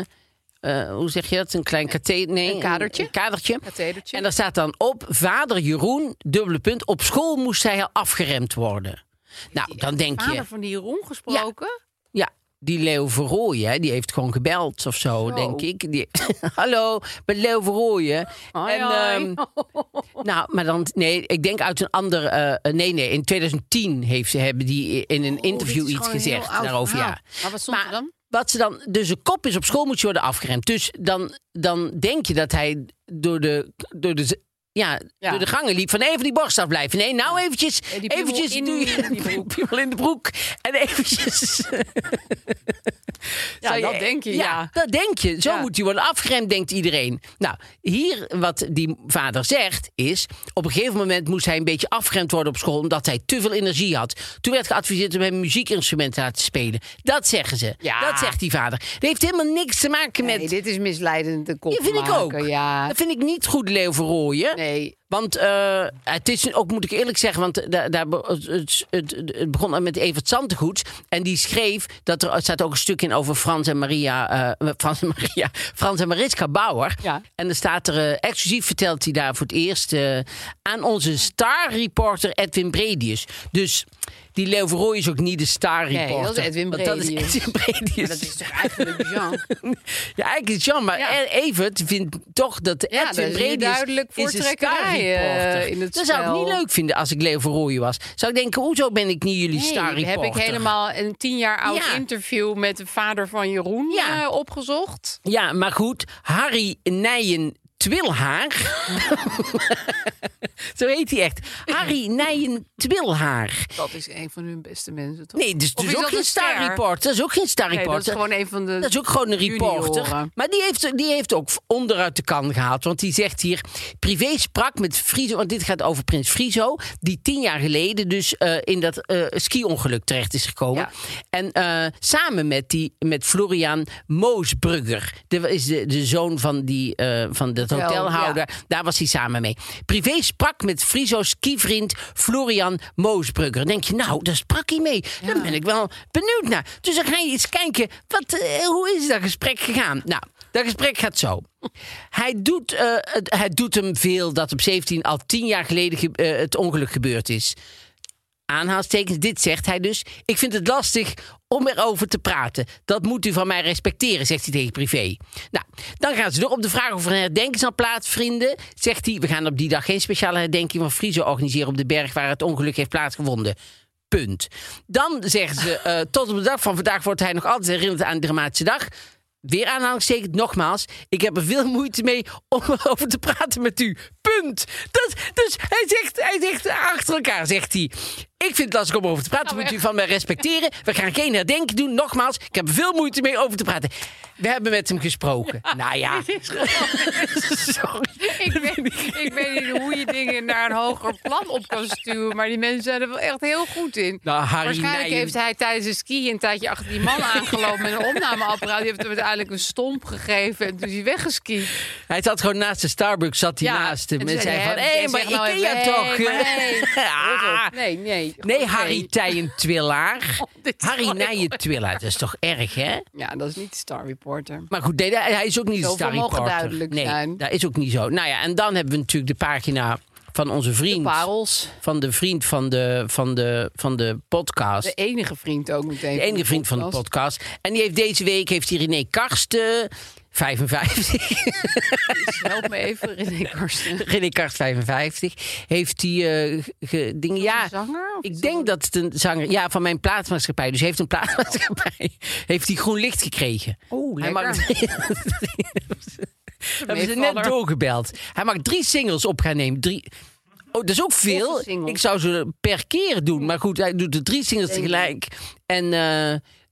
[SPEAKER 1] eh, hoe zeg je dat? Een klein katheder? Nee,
[SPEAKER 2] Een kadertje.
[SPEAKER 1] Een, kadertje.
[SPEAKER 2] Kathedertje.
[SPEAKER 1] En daar staat dan op, vader Jeroen, dubbele punt, op school moest hij al afgeremd worden. Nou, dan denk
[SPEAKER 2] Vader
[SPEAKER 1] je,
[SPEAKER 2] van die Jeroen gesproken.
[SPEAKER 1] ja, die Leo Verrooyen, hè, die heeft gewoon gebeld of zo, denk ik. Die, <laughs> hallo, met Leo Verrooyen.
[SPEAKER 2] Hoi,
[SPEAKER 1] en,
[SPEAKER 2] hoi.
[SPEAKER 1] ehm, nou, maar dan, nee, ik denk uit een ander, eh, nee, nee, in 2010 heeft, ze- hebben die in een interview
[SPEAKER 2] Oh, dit is
[SPEAKER 1] iets
[SPEAKER 2] gewoon een heel
[SPEAKER 1] gezegd
[SPEAKER 2] oud
[SPEAKER 1] daarover,
[SPEAKER 2] verhaal.
[SPEAKER 1] ja.
[SPEAKER 2] Maar wat stond er dan?
[SPEAKER 1] Wat ze dan, dus de kop is op school moet je worden afgeremd. Dus dan, dan denk je dat hij door de, door de, z- ja,
[SPEAKER 2] Ja.
[SPEAKER 1] door de gangen liep van even die borst afblijven. Nee, nou eventjes,
[SPEAKER 2] Ja, die piemel
[SPEAKER 1] eventjes <laughs>
[SPEAKER 2] in
[SPEAKER 1] doe je
[SPEAKER 2] die broek.
[SPEAKER 1] piemel in de broek en eventjes.
[SPEAKER 2] <laughs> Ja,
[SPEAKER 1] Zou
[SPEAKER 2] dat denk je, ja.
[SPEAKER 1] Dat denk je. Zo
[SPEAKER 2] Ja.
[SPEAKER 1] moet hij worden afgeremd, denkt iedereen. Nou, hier wat die vader zegt is... op een gegeven moment moest hij een beetje afgeremd worden op school... omdat hij te veel energie had. Toen werd geadviseerd om hem een muziekinstrument te laten spelen. Dat zeggen ze.
[SPEAKER 2] Ja.
[SPEAKER 1] Dat zegt die vader. Dat heeft helemaal niks te maken met...
[SPEAKER 2] Nee, dit is misleidend de kop
[SPEAKER 1] dat vind ik ook.
[SPEAKER 2] maken, Ja.
[SPEAKER 1] Dat vind ik niet goed, Leo Verrooyen.
[SPEAKER 2] Nee,
[SPEAKER 1] Want eh, het is ook, moet ik eerlijk zeggen, want eh, daar, daar, be- het, het, het begon met Evert Zantegoed. En die schreef dat er, er staat ook een stuk in over Frans en Maria, eh, <laughs> Frans en Maria, Frans en Mariska Bauer.
[SPEAKER 2] Ja.
[SPEAKER 1] En er staat er eh, exclusief vertelt hij daar voor het eerst eh, aan onze star-reporter Edwin Bredius. Dus die Leo Verrooy is ook niet de star-reporter.
[SPEAKER 2] Nee, dat is Edwin
[SPEAKER 1] Want dat is
[SPEAKER 2] Bredius.
[SPEAKER 1] Edwin Bredius.
[SPEAKER 2] maar dat is toch
[SPEAKER 1] <laughs>
[SPEAKER 2] eigenlijk Jean?
[SPEAKER 1] Ja, eigenlijk is het jammer. Maar
[SPEAKER 2] Ja.
[SPEAKER 1] E- Evert vindt toch dat Edwin
[SPEAKER 2] dat is hier
[SPEAKER 1] Bredius
[SPEAKER 2] duidelijk
[SPEAKER 1] is een
[SPEAKER 2] voortrekkerij,
[SPEAKER 1] starreporter.
[SPEAKER 2] eh, in het
[SPEAKER 1] Dat zou ik
[SPEAKER 2] spel.
[SPEAKER 1] niet leuk vinden als ik Leo Verrooyen was. Zou ik denken, hoezo ben ik niet jullie
[SPEAKER 2] Nee,
[SPEAKER 1] starreporter?
[SPEAKER 2] heb ik helemaal een tien jaar oud
[SPEAKER 1] Ja.
[SPEAKER 2] interview met de vader van Jeroen
[SPEAKER 1] Ja.
[SPEAKER 2] eh, opgezocht.
[SPEAKER 1] Ja, maar goed. Harry Nijen Twilhaar. <laughs> Zo heet hij echt. Harry Nijen Twilhaar.
[SPEAKER 2] Dat is een van hun beste mensen, toch?
[SPEAKER 1] Nee, dus,
[SPEAKER 2] Of
[SPEAKER 1] dus
[SPEAKER 2] is
[SPEAKER 1] ook
[SPEAKER 2] dat
[SPEAKER 1] geen
[SPEAKER 2] een ster?
[SPEAKER 1] starreporter. Dat is ook geen
[SPEAKER 2] Nee,
[SPEAKER 1] starreporter.
[SPEAKER 2] dat is gewoon een van de.
[SPEAKER 1] Dat is ook gewoon een reporter.
[SPEAKER 2] junioren.
[SPEAKER 1] Maar die heeft, die heeft ook onderuit de kan gehaald. Want die zegt hier... Privé sprak met Friso... Want dit gaat over Prins Friso. Die tien jaar geleden dus eh, in dat eh ski-ongeluk terecht is gekomen.
[SPEAKER 2] Ja.
[SPEAKER 1] En eh, samen met, die, met Florian Moosbrugger. Dat is de, de zoon van, die, eh, van dat
[SPEAKER 2] Hotel,
[SPEAKER 1] hotelhouder. Daar was hij samen mee. Privé sprak met Friso's skivriend Florian Moosbrugger. Dan denk je, nou, daar sprak hij mee. Daar ben ik wel benieuwd naar. Dus dan ga je eens kijken, wat, eh, hoe is dat gesprek gegaan? Nou, dat gesprek gaat zo. Hij doet, eh, het, het doet hem veel dat op 17 al tien jaar geleden ge- eh, het ongeluk gebeurd is aanhalingstekens, dit zegt hij dus. Ik vind het lastig om erover te praten. Dat moet u van mij respecteren, zegt hij tegen privé. Nou, dan gaan ze door op de vraag of er een herdenking zal plaatsvinden. Zegt hij, we gaan op die dag geen speciale herdenking van Friese organiseren op de berg waar het ongeluk heeft plaatsgevonden. Punt. Dan zeggen ze, eh, tot op de dag van vandaag wordt hij nog altijd herinnerd aan de dramatische dag. Weer aanhalingstekend, nogmaals. Ik heb er veel moeite mee om <laughs> erover te praten met u. Punt. Dat, dus hij zegt, hij zegt achter elkaar, zegt hij. Ik vind het lastig om over te praten.
[SPEAKER 2] Oh,
[SPEAKER 1] moet u van mij respecteren. We gaan geen herdenken doen. Nogmaals, ik heb er veel moeite mee over te praten. We hebben met hem gesproken. Nou
[SPEAKER 2] <laughs>
[SPEAKER 1] ja. <laughs> Sorry.
[SPEAKER 2] Ik weet, ik weet niet hoe je dingen naar een hoger plan op kan stuwen. Maar die mensen zijn er wel echt heel goed in.
[SPEAKER 1] Nou, Harry
[SPEAKER 2] Waarschijnlijk
[SPEAKER 1] Nijen-
[SPEAKER 2] heeft hij tijdens het skiën een tijdje achter die man aangelopen met een opnameapparaat. Die heeft hem uiteindelijk een stomp gegeven en toen is hij weggeskiet.
[SPEAKER 1] Hij zat gewoon naast de Starbucks, zat hij
[SPEAKER 2] Ja,
[SPEAKER 1] naast hem.
[SPEAKER 2] en
[SPEAKER 1] En
[SPEAKER 2] toen
[SPEAKER 1] zei
[SPEAKER 2] zei
[SPEAKER 1] van,
[SPEAKER 2] hij,
[SPEAKER 1] hé,
[SPEAKER 2] "Jij
[SPEAKER 1] maar
[SPEAKER 2] zegt nou
[SPEAKER 1] Ikea
[SPEAKER 2] even,
[SPEAKER 1] toch?
[SPEAKER 2] nee,
[SPEAKER 1] <laughs>
[SPEAKER 2] maar
[SPEAKER 1] Ah.
[SPEAKER 2] Nee, nee.
[SPEAKER 1] Nee,
[SPEAKER 2] Goed,
[SPEAKER 1] Harry Tijen
[SPEAKER 2] <laughs>
[SPEAKER 1] Twillaar.
[SPEAKER 2] dit is
[SPEAKER 1] Harry
[SPEAKER 2] wel heel
[SPEAKER 1] Nijen Twillaar, dat is toch erg, hè?
[SPEAKER 2] Ja, dat is niet de Star Reporter.
[SPEAKER 1] Maar goed, nee, hij is ook niet de
[SPEAKER 2] Zoveel
[SPEAKER 1] star
[SPEAKER 2] mogen
[SPEAKER 1] reporter.
[SPEAKER 2] duidelijk
[SPEAKER 1] nee,
[SPEAKER 2] zijn.
[SPEAKER 1] dat is ook niet zo. Nou ja, en dan hebben we natuurlijk de pagina van onze vriend.
[SPEAKER 2] Parels,
[SPEAKER 1] van de vriend van de, van de, van de podcast.
[SPEAKER 2] de enige vriend ook meteen.
[SPEAKER 1] De enige vriend van de podcast. En die heeft deze week heeft hij René Karsten, 55.
[SPEAKER 2] Help me
[SPEAKER 1] <laughs>
[SPEAKER 2] even, René Karsten.
[SPEAKER 1] René Karst, 55. Heeft hij eh, ge- dingen. Ja,
[SPEAKER 2] een zanger of
[SPEAKER 1] ik
[SPEAKER 2] iets
[SPEAKER 1] denk dat het een zanger. Ja, van mijn plaatsmaatschappij. Dus heeft een
[SPEAKER 2] <laughs>
[SPEAKER 1] plaatsmaatschappij. Heeft hij groen licht gekregen?
[SPEAKER 2] Oh,
[SPEAKER 1] Hij mag,
[SPEAKER 2] <laughs>
[SPEAKER 1] hebben ze net
[SPEAKER 2] Meevaller.
[SPEAKER 1] doorgebeld. Hij mag drie singles op gaan nemen. Drie. Oh, dat is ook veel.
[SPEAKER 2] Losse singles.
[SPEAKER 1] Ik zou ze per keer doen. Maar goed, hij doet de drie singles tegelijk. En eh,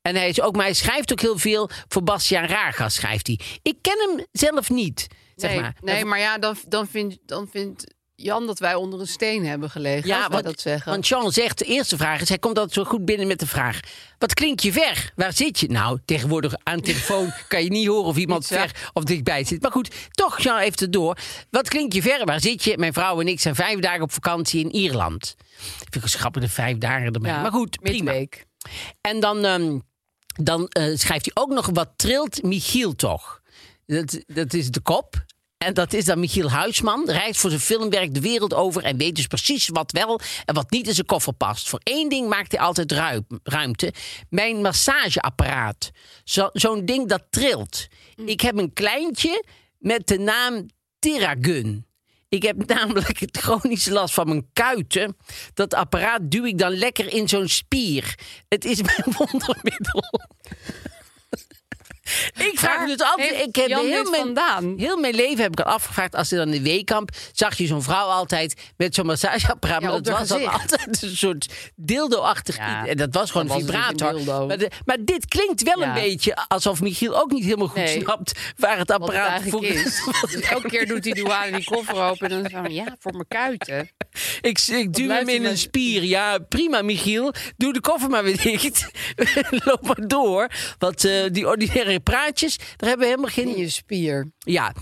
[SPEAKER 1] En hij, is ook, maar hij schrijft ook heel veel voor Bastiaan Ragas, schrijft hij. Ik ken hem zelf niet, zeg
[SPEAKER 2] nee,
[SPEAKER 1] maar.
[SPEAKER 2] nee, maar ja, dan, dan, vindt, dan vindt Jan dat wij onder een steen hebben gelegen. als wij
[SPEAKER 1] wat
[SPEAKER 2] dat zeggen.
[SPEAKER 1] Want Jean zegt, de eerste vraag is, hij komt altijd zo goed binnen met de vraag. Wat klink je ver? Waar zit je? Nou, tegenwoordig aan de
[SPEAKER 2] <laughs>
[SPEAKER 1] telefoon kan je niet horen of iemand
[SPEAKER 2] Niet, ja.
[SPEAKER 1] ver of dichtbij zit. Maar goed, toch Jean heeft het door. Wat klink je ver? Waar zit je? Mijn vrouw en ik zijn vijf dagen op vakantie in Ierland. Vind ik een schappende vijf dagen erbij.
[SPEAKER 2] Ja,
[SPEAKER 1] maar goed, prima.
[SPEAKER 2] midweek.
[SPEAKER 1] En dan, ehm, dan eh, schrijft hij ook nog wat trilt Michiel toch. Dat, dat is de kop. En dat is dan Michiel Huisman. Reist voor zijn filmwerk de wereld over en weet dus precies wat wel en wat niet in zijn koffer past. Voor één ding maakt hij altijd ruim- ruimte. Mijn massageapparaat. Zo- Zo'n ding dat trilt. Ik heb een kleintje met de naam Terragun. Ik heb <laughs> namelijk het chronische last van mijn kuiten. Dat apparaat duw ik dan lekker in zo'n spier. Het is mijn <laughs> wondermiddel. ik vraag me
[SPEAKER 2] Waar
[SPEAKER 1] dus altijd.
[SPEAKER 2] heeft
[SPEAKER 1] Ik heb
[SPEAKER 2] Jan
[SPEAKER 1] heel
[SPEAKER 2] dit
[SPEAKER 1] mijn,
[SPEAKER 2] vandaan?
[SPEAKER 1] heel mijn leven heb ik al afgevraagd. Als ze dan in de weekamp zag je zo'n vrouw altijd met zo'n massageapparaat.
[SPEAKER 2] Ja,
[SPEAKER 1] maar
[SPEAKER 2] op
[SPEAKER 1] dat was
[SPEAKER 2] haar
[SPEAKER 1] dan
[SPEAKER 2] gezicht.
[SPEAKER 1] altijd een soort dildo-achtig.
[SPEAKER 2] Ja,
[SPEAKER 1] iets. en dat was gewoon
[SPEAKER 2] dan
[SPEAKER 1] een
[SPEAKER 2] was het natuurlijk
[SPEAKER 1] vibrator.
[SPEAKER 2] een dildo.
[SPEAKER 1] maar, de- maar dit klinkt wel
[SPEAKER 2] Ja.
[SPEAKER 1] een beetje alsof Michiel ook niet helemaal goed
[SPEAKER 2] Nee.
[SPEAKER 1] snapt waar het
[SPEAKER 2] Wat het
[SPEAKER 1] apparaat voor
[SPEAKER 2] eigenlijk
[SPEAKER 1] <laughs>
[SPEAKER 2] is. Dus elke keer doet die douane die koffer open. En dan van ja, voor mijn kuiten.
[SPEAKER 1] Ik, ik duw hem
[SPEAKER 2] blijft
[SPEAKER 1] in
[SPEAKER 2] hij
[SPEAKER 1] een
[SPEAKER 2] met-
[SPEAKER 1] spier. Ja, prima, Michiel. Doe de koffer maar weer dicht. <laughs> Loop maar door. Want eh, die ordinaire praatjes, daar hebben we helemaal
[SPEAKER 2] In
[SPEAKER 1] geen.
[SPEAKER 2] je spier.
[SPEAKER 1] Ja.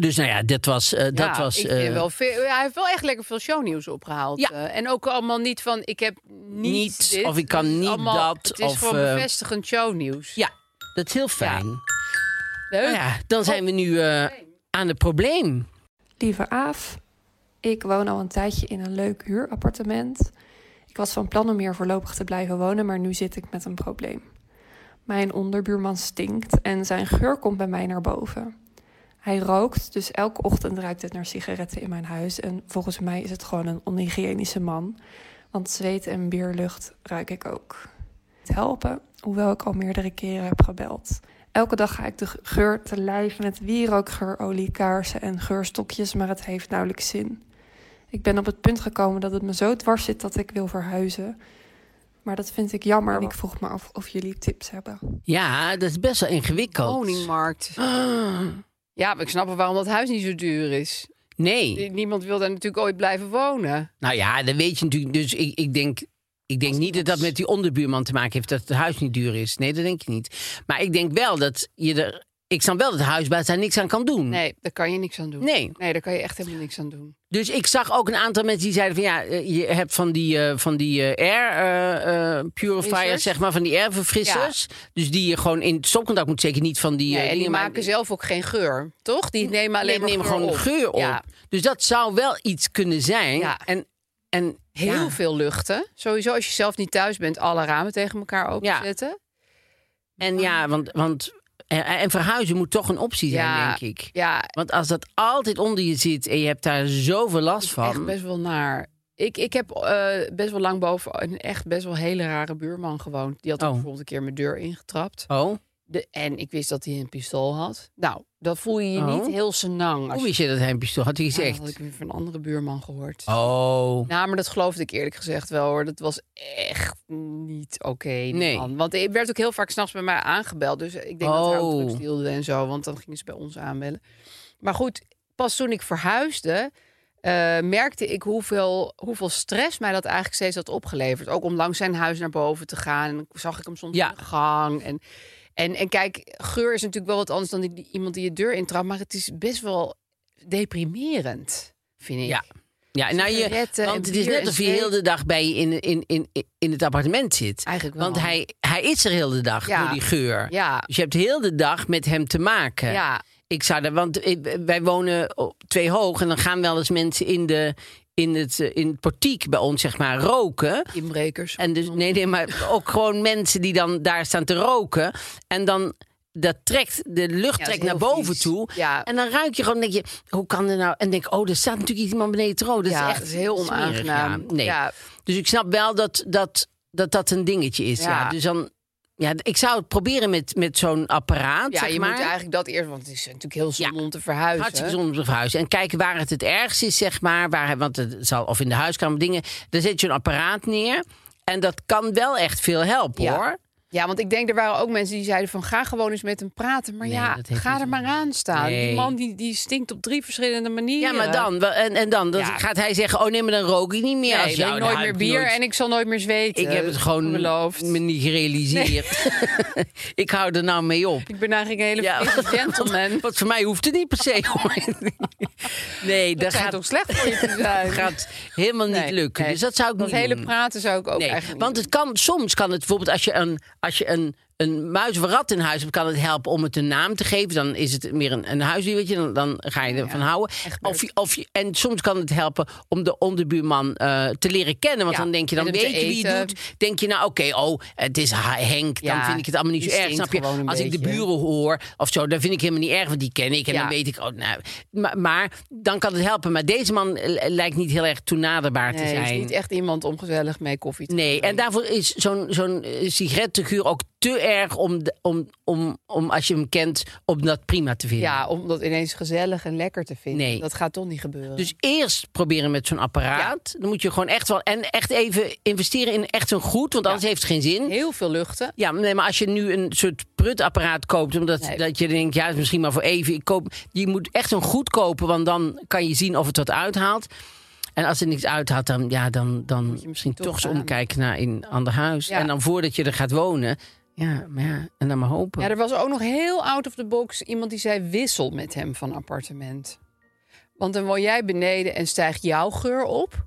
[SPEAKER 1] Dus nou ja, dat was. eh, <laughs> dat
[SPEAKER 2] Ja,
[SPEAKER 1] was
[SPEAKER 2] ik
[SPEAKER 1] eh,
[SPEAKER 2] vind wel veel, ja, hij heeft wel echt lekker veel shownieuws opgehaald.
[SPEAKER 1] Ja.
[SPEAKER 2] eh, en ook allemaal niet van ik heb niet,
[SPEAKER 1] Niet,
[SPEAKER 2] dit.
[SPEAKER 1] of ik kan
[SPEAKER 2] Het is
[SPEAKER 1] niet
[SPEAKER 2] allemaal-
[SPEAKER 1] dat,
[SPEAKER 2] Het is
[SPEAKER 1] of,
[SPEAKER 2] gewoon
[SPEAKER 1] eh,
[SPEAKER 2] bevestigend shownieuws.
[SPEAKER 1] ja, dat is heel fijn.
[SPEAKER 2] Leuk.
[SPEAKER 1] Nou ja, dan zijn we nu eh, aan het probleem.
[SPEAKER 4] Lieve Aaf, ik woon al een tijdje in een leuk huurappartement. Ik was van plan om hier voorlopig te blijven wonen, maar nu zit ik met een probleem. Mijn onderbuurman stinkt en zijn geur komt bij mij naar boven. Hij rookt, dus elke ochtend ruikt het naar sigaretten in mijn huis. En volgens mij is het gewoon een onhygiënische man, want zweet en bierlucht ruik ik ook. Het helpen, hoewel ik al meerdere keren heb gebeld. Elke dag ga ik de geur te lijf met wierook, geurolie, kaarsen en geurstokjes, maar het heeft nauwelijks zin. Ik ben op het punt gekomen dat het me zo dwars zit dat ik wil verhuizen. Maar dat vind ik jammer. En ik vroeg me af of jullie tips hebben.
[SPEAKER 1] Ja, dat is best wel ingewikkeld.
[SPEAKER 2] Woningmarkt. <gasps> Ja, maar ik snap wel waarom dat huis niet zo duur is.
[SPEAKER 1] Nee.
[SPEAKER 2] Niemand wil daar natuurlijk ooit blijven wonen.
[SPEAKER 1] Nou ja, dat weet je natuurlijk. Dus ik, ik denk, ik denk niet dat dat met die onderbuurman te maken heeft. Dat het huis niet duur is. Nee, dat denk ik niet. Maar ik denk wel dat je er. Ik snap wel dat de huisbaas daar niks aan kan doen.
[SPEAKER 2] Nee, daar kan je niks aan doen.
[SPEAKER 1] Nee.
[SPEAKER 2] Nee, daar kan je echt helemaal niks aan doen.
[SPEAKER 1] Dus ik zag ook een aantal mensen die zeiden van ja, eh, je hebt van die, eh, van die eh, air eh, eh, purifiers,
[SPEAKER 2] Verfrissers?
[SPEAKER 1] zeg maar, van die air verfrissers. Dus die je gewoon in het stopcontact moet zeker niet van die.
[SPEAKER 2] Nee,
[SPEAKER 1] eh,
[SPEAKER 2] en die
[SPEAKER 1] dingen, maar-
[SPEAKER 2] maken zelf ook geen geur, toch? Die nemen
[SPEAKER 1] Nee,
[SPEAKER 2] alleen maar
[SPEAKER 1] nemen
[SPEAKER 2] geur
[SPEAKER 1] gewoon
[SPEAKER 2] op.
[SPEAKER 1] geur op.
[SPEAKER 2] Ja.
[SPEAKER 1] Dus dat zou wel iets kunnen zijn.
[SPEAKER 2] Ja.
[SPEAKER 1] En, en
[SPEAKER 2] Heel
[SPEAKER 1] ja.
[SPEAKER 2] veel luchten. Sowieso als je zelf niet thuis bent, alle ramen tegen elkaar openzetten.
[SPEAKER 1] En ja, want, want eh, en verhuizen moet toch een optie zijn, denk ik.
[SPEAKER 2] Ja,
[SPEAKER 1] Want als dat altijd onder je zit en je hebt daar zoveel last
[SPEAKER 2] echt
[SPEAKER 1] van.
[SPEAKER 2] best wel naar. Ik, ik heb eh, best wel lang boven een echt best wel hele rare buurman gewoond. Die had ook
[SPEAKER 1] Oh.
[SPEAKER 2] bijvoorbeeld een keer mijn deur ingetrapt.
[SPEAKER 1] Oh,
[SPEAKER 2] De, en ik wist dat hij een pistool had. Nou, dat voel je je
[SPEAKER 1] Oh.
[SPEAKER 2] niet heel senang. Als
[SPEAKER 1] hoe wist je dat hij een pistool had? Hij
[SPEAKER 2] Ja, dat
[SPEAKER 1] gezegd.
[SPEAKER 2] had ik weer van een andere buurman gehoord.
[SPEAKER 1] Oh,
[SPEAKER 2] Nou, maar dat geloofde ik eerlijk gezegd wel hoor. Dat was echt niet oké. die
[SPEAKER 1] Nee.
[SPEAKER 2] man. Want ik werd ook heel vaak s'nachts bij mij aangebeld. Dus ik denk dat hij ook
[SPEAKER 1] Oh.
[SPEAKER 2] drugs dealde en zo. Want dan gingen ze bij ons aanbellen. Maar goed, pas toen ik verhuisde... eh, merkte ik hoeveel, hoeveel stress mij dat eigenlijk steeds had opgeleverd. Ook om langs zijn huis naar boven te gaan. En dan zag ik hem soms
[SPEAKER 1] Ja.
[SPEAKER 2] in de gang. En, en, en kijk, geur is natuurlijk wel wat anders dan die- die, iemand die je deur intrapt. Maar het is best wel deprimerend, vind ik.
[SPEAKER 1] Ja. ja, nou je.
[SPEAKER 2] Sigaretten en
[SPEAKER 1] Want het is
[SPEAKER 2] bier
[SPEAKER 1] net
[SPEAKER 2] en
[SPEAKER 1] of je
[SPEAKER 2] zweet.
[SPEAKER 1] heel de dag bij je in, in, in, in het appartement zit.
[SPEAKER 2] Eigenlijk wel.
[SPEAKER 1] Want hij, hij is er heel de dag
[SPEAKER 2] Ja.
[SPEAKER 1] door die geur.
[SPEAKER 2] Ja,
[SPEAKER 1] Dus je hebt heel de dag met hem te maken.
[SPEAKER 2] ja.
[SPEAKER 1] Ik zou daar, want ik- wij wonen op twee hoog en dan gaan wel eens mensen in, de, in, het, eh, in het portiek bij ons, zeg maar, roken.
[SPEAKER 2] Inbrekers.
[SPEAKER 1] En dus, nee, nee, maar ook gewoon mensen die dan daar staan te roken. En dan dat trekt, de lucht
[SPEAKER 2] Ja, dat
[SPEAKER 1] trekt
[SPEAKER 2] is
[SPEAKER 1] naar
[SPEAKER 2] heel
[SPEAKER 1] boven
[SPEAKER 2] vies.
[SPEAKER 1] toe.
[SPEAKER 2] Ja.
[SPEAKER 1] En dan ruik je gewoon, denk je, hoe kan dat nou? En denk, oh, er staat natuurlijk iemand beneden te roken. Dat
[SPEAKER 2] ja,
[SPEAKER 1] is echt
[SPEAKER 2] dat is heel
[SPEAKER 1] smerig,
[SPEAKER 2] onaangenaam.
[SPEAKER 1] ja. Nee.
[SPEAKER 2] Ja,
[SPEAKER 1] Dus ik snap wel dat dat, dat, dat een dingetje is. Ja.
[SPEAKER 2] Ja.
[SPEAKER 1] Dus dan, ja, ik zou het proberen met, met zo'n apparaat.
[SPEAKER 2] Ja,
[SPEAKER 1] zeg
[SPEAKER 2] je
[SPEAKER 1] maar.
[SPEAKER 2] moet eigenlijk dat eerst, want het is natuurlijk heel zonde
[SPEAKER 1] Ja.
[SPEAKER 2] om te verhuizen.
[SPEAKER 1] Hartstikke zonde om te verhuizen. En kijken waar het het ergst is, zeg maar. Waar, want het zal, of in de huiskamer, dingen. Daar zet je een apparaat neer. En dat kan wel echt veel helpen,
[SPEAKER 2] Ja.
[SPEAKER 1] hoor.
[SPEAKER 2] Ja, want ik denk er waren ook mensen die zeiden van ga gewoon eens met hem praten. Maar
[SPEAKER 1] Nee,
[SPEAKER 2] ja,
[SPEAKER 1] dat heeft
[SPEAKER 2] ga
[SPEAKER 1] niet
[SPEAKER 2] er
[SPEAKER 1] zo.
[SPEAKER 2] maar aan staan.
[SPEAKER 1] Nee.
[SPEAKER 2] Die man die, die stinkt op drie verschillende
[SPEAKER 1] Ja,
[SPEAKER 2] manieren.
[SPEAKER 1] maar dan. wel- En, en dan, dan
[SPEAKER 2] Ja.
[SPEAKER 1] gaat hij zeggen: Oh nee, maar dan rook ik niet meer. als
[SPEAKER 2] Nee, drink
[SPEAKER 1] jou.
[SPEAKER 2] nooit
[SPEAKER 1] Nou,
[SPEAKER 2] meer
[SPEAKER 1] heb
[SPEAKER 2] bier
[SPEAKER 1] nooit-
[SPEAKER 2] en ik zal nooit eh, meer zweten.
[SPEAKER 1] Ik heb het gewoon
[SPEAKER 2] beloofd.
[SPEAKER 1] me niet gerealiseerd. <laughs> ik hou er nou mee op.
[SPEAKER 2] Ik ben eigenlijk een hele
[SPEAKER 1] Ja, <laughs>
[SPEAKER 2] frisse gentleman.
[SPEAKER 1] Want voor mij hoeft het niet per se.
[SPEAKER 2] <laughs>
[SPEAKER 1] hoor. nee, dat,
[SPEAKER 2] dat gaat
[SPEAKER 1] gaat,
[SPEAKER 2] toch slecht voor je te zijn?
[SPEAKER 1] dat <laughs> gaat helemaal niet
[SPEAKER 2] Nee,
[SPEAKER 1] lukken.
[SPEAKER 2] nee.
[SPEAKER 1] Dus dat zou ik
[SPEAKER 2] dat
[SPEAKER 1] niet
[SPEAKER 2] hele
[SPEAKER 1] doen.
[SPEAKER 2] praten zou ik ook
[SPEAKER 1] Nee,
[SPEAKER 2] eigenlijk
[SPEAKER 1] want
[SPEAKER 2] niet
[SPEAKER 1] het kan, soms kan het bijvoorbeeld als je, een, als je een, een muis of een rat in huis hebt, kan het helpen om het een naam te geven. Dan is het meer een, een huisdiertje, dan, dan ga je ervan houden. Of je, of je, en soms kan het helpen om de onderbuurman eh, te leren kennen. Want
[SPEAKER 2] Ja,
[SPEAKER 1] dan denk je,
[SPEAKER 2] en
[SPEAKER 1] dan
[SPEAKER 2] hem te
[SPEAKER 1] weet je wie het
[SPEAKER 2] eten.
[SPEAKER 1] doet. Denk je, nou oké, oh, het is Ha- Henk, dan
[SPEAKER 2] Ja,
[SPEAKER 1] vind ik het allemaal niet
[SPEAKER 2] die
[SPEAKER 1] zo erg.
[SPEAKER 2] stinkt
[SPEAKER 1] Snap je?
[SPEAKER 2] gewoon een
[SPEAKER 1] Als ik de
[SPEAKER 2] beetje.
[SPEAKER 1] buren hoor of zo, dan vind ik helemaal niet erg, want die ken ik. En
[SPEAKER 2] Ja.
[SPEAKER 1] dan weet ik, oh, nou, maar, maar dan kan het helpen. Maar deze man eh, lijkt niet heel erg toenaderbaar te
[SPEAKER 2] Nee,
[SPEAKER 1] zijn.
[SPEAKER 2] het is niet echt iemand om gezellig mee koffie te
[SPEAKER 1] Nee, en daarvoor is zo'n zo'n eh, sigarettenguur ook te erg om, de- om, om, om, als je hem kent, om dat prima te vinden.
[SPEAKER 2] Ja, om dat ineens gezellig en lekker te vinden.
[SPEAKER 1] Nee.
[SPEAKER 2] Dat gaat toch niet gebeuren.
[SPEAKER 1] Dus eerst proberen met zo'n apparaat. Dan moet je gewoon echt wel. En echt even investeren in echt een goed, want anders heeft het geen zin.
[SPEAKER 2] heel veel luchten.
[SPEAKER 1] Ja, nee, maar als je nu een soort prutapparaat koopt, omdat
[SPEAKER 2] Nee.
[SPEAKER 1] dat je denkt, ja, het is misschien maar voor even. Ik koop, je moet echt een goed kopen, want dan kan je zien of het wat uithaalt. En als het niks uithaalt, dan, ja, dan, dan misschien, toch,
[SPEAKER 2] toch
[SPEAKER 1] eens
[SPEAKER 2] gaan.
[SPEAKER 1] omkijken naar een ander huis.
[SPEAKER 2] Ja.
[SPEAKER 1] En dan voordat je er gaat wonen, ja, maar ja en dan maar hopen.
[SPEAKER 2] Ja, er was ook nog heel out of the box iemand die zei wissel met hem van appartement. Want dan woon jij beneden en stijgt jouw geur op.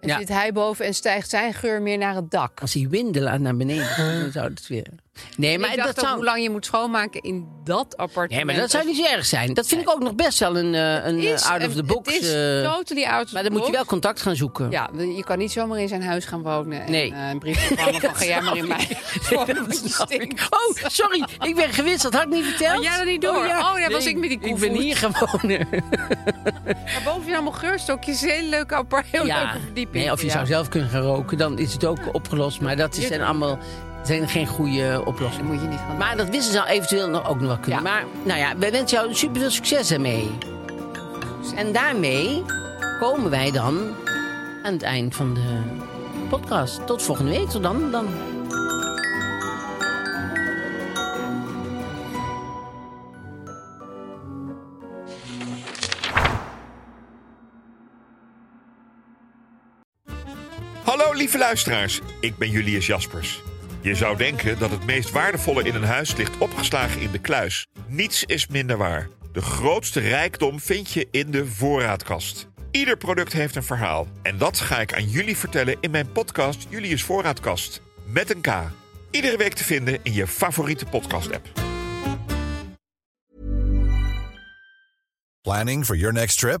[SPEAKER 2] En
[SPEAKER 1] Ja.
[SPEAKER 2] zit hij boven en stijgt zijn geur meer naar het dak.
[SPEAKER 1] Als die windelaar naar beneden komt, dan zou het weer... Nee,
[SPEAKER 2] maar
[SPEAKER 1] maar
[SPEAKER 2] ik dacht
[SPEAKER 1] dat
[SPEAKER 2] ook hoe
[SPEAKER 1] zou...
[SPEAKER 2] lang je moet schoonmaken in dat appartement.
[SPEAKER 1] Nee, maar dat zou
[SPEAKER 2] Of-
[SPEAKER 1] niet zo erg zijn. Dat vind ik ook nog best wel een, eh, een
[SPEAKER 2] Is-
[SPEAKER 1] eh, out of the
[SPEAKER 2] het
[SPEAKER 1] box.
[SPEAKER 2] is
[SPEAKER 1] eh,
[SPEAKER 2] totally out of the
[SPEAKER 1] maar dan moet je
[SPEAKER 2] box.
[SPEAKER 1] wel contact gaan zoeken.
[SPEAKER 2] Ja, je kan niet zomaar in zijn huis gaan wonen. En,
[SPEAKER 1] Nee.
[SPEAKER 2] eh, een brief
[SPEAKER 1] <laughs>
[SPEAKER 2] ontvangen van ga jij maar in <laughs> mij.
[SPEAKER 1] Dat snap ik. Oh, sorry, ik ben gewisseld. Had ik niet verteld?
[SPEAKER 2] Had jij dat niet door? Oh, ja, was ik met die
[SPEAKER 1] Ik ben
[SPEAKER 2] koevoet.
[SPEAKER 1] hier gewoon. eh,
[SPEAKER 2] Maar boven je allemaal geurstokjes, heel leuke apart, <laughs> heel leuke verdieping.
[SPEAKER 1] Nee, of je
[SPEAKER 2] Ja.
[SPEAKER 1] zou zelf kunnen gaan roken, dan is het ook opgelost. Maar dat is, zijn allemaal zijn geen goede eh,
[SPEAKER 2] Dat
[SPEAKER 1] oplossingen.
[SPEAKER 2] moet je niet gaan
[SPEAKER 1] Maar dat wisten ze al eventueel nog ook nog wel kunnen.
[SPEAKER 2] Ja.
[SPEAKER 1] Maar nou ja, wij wensen jou super veel succes ermee. En daarmee komen wij dan aan het eind van de podcast. Tot volgende week. Tot dan. dan.
[SPEAKER 5] Hallo lieve luisteraars, ik ben Julius Jaspers. Je zou denken dat het meest waardevolle in een huis ligt opgeslagen in de kluis. Niets is minder waar. De grootste rijkdom vind je in de voorraadkast. Ieder product heeft een verhaal. En dat ga ik aan jullie vertellen in mijn podcast Julius Voorraadkast. Met een K. Iedere week te vinden in je favoriete podcast-app.
[SPEAKER 6] Planning for your next trip?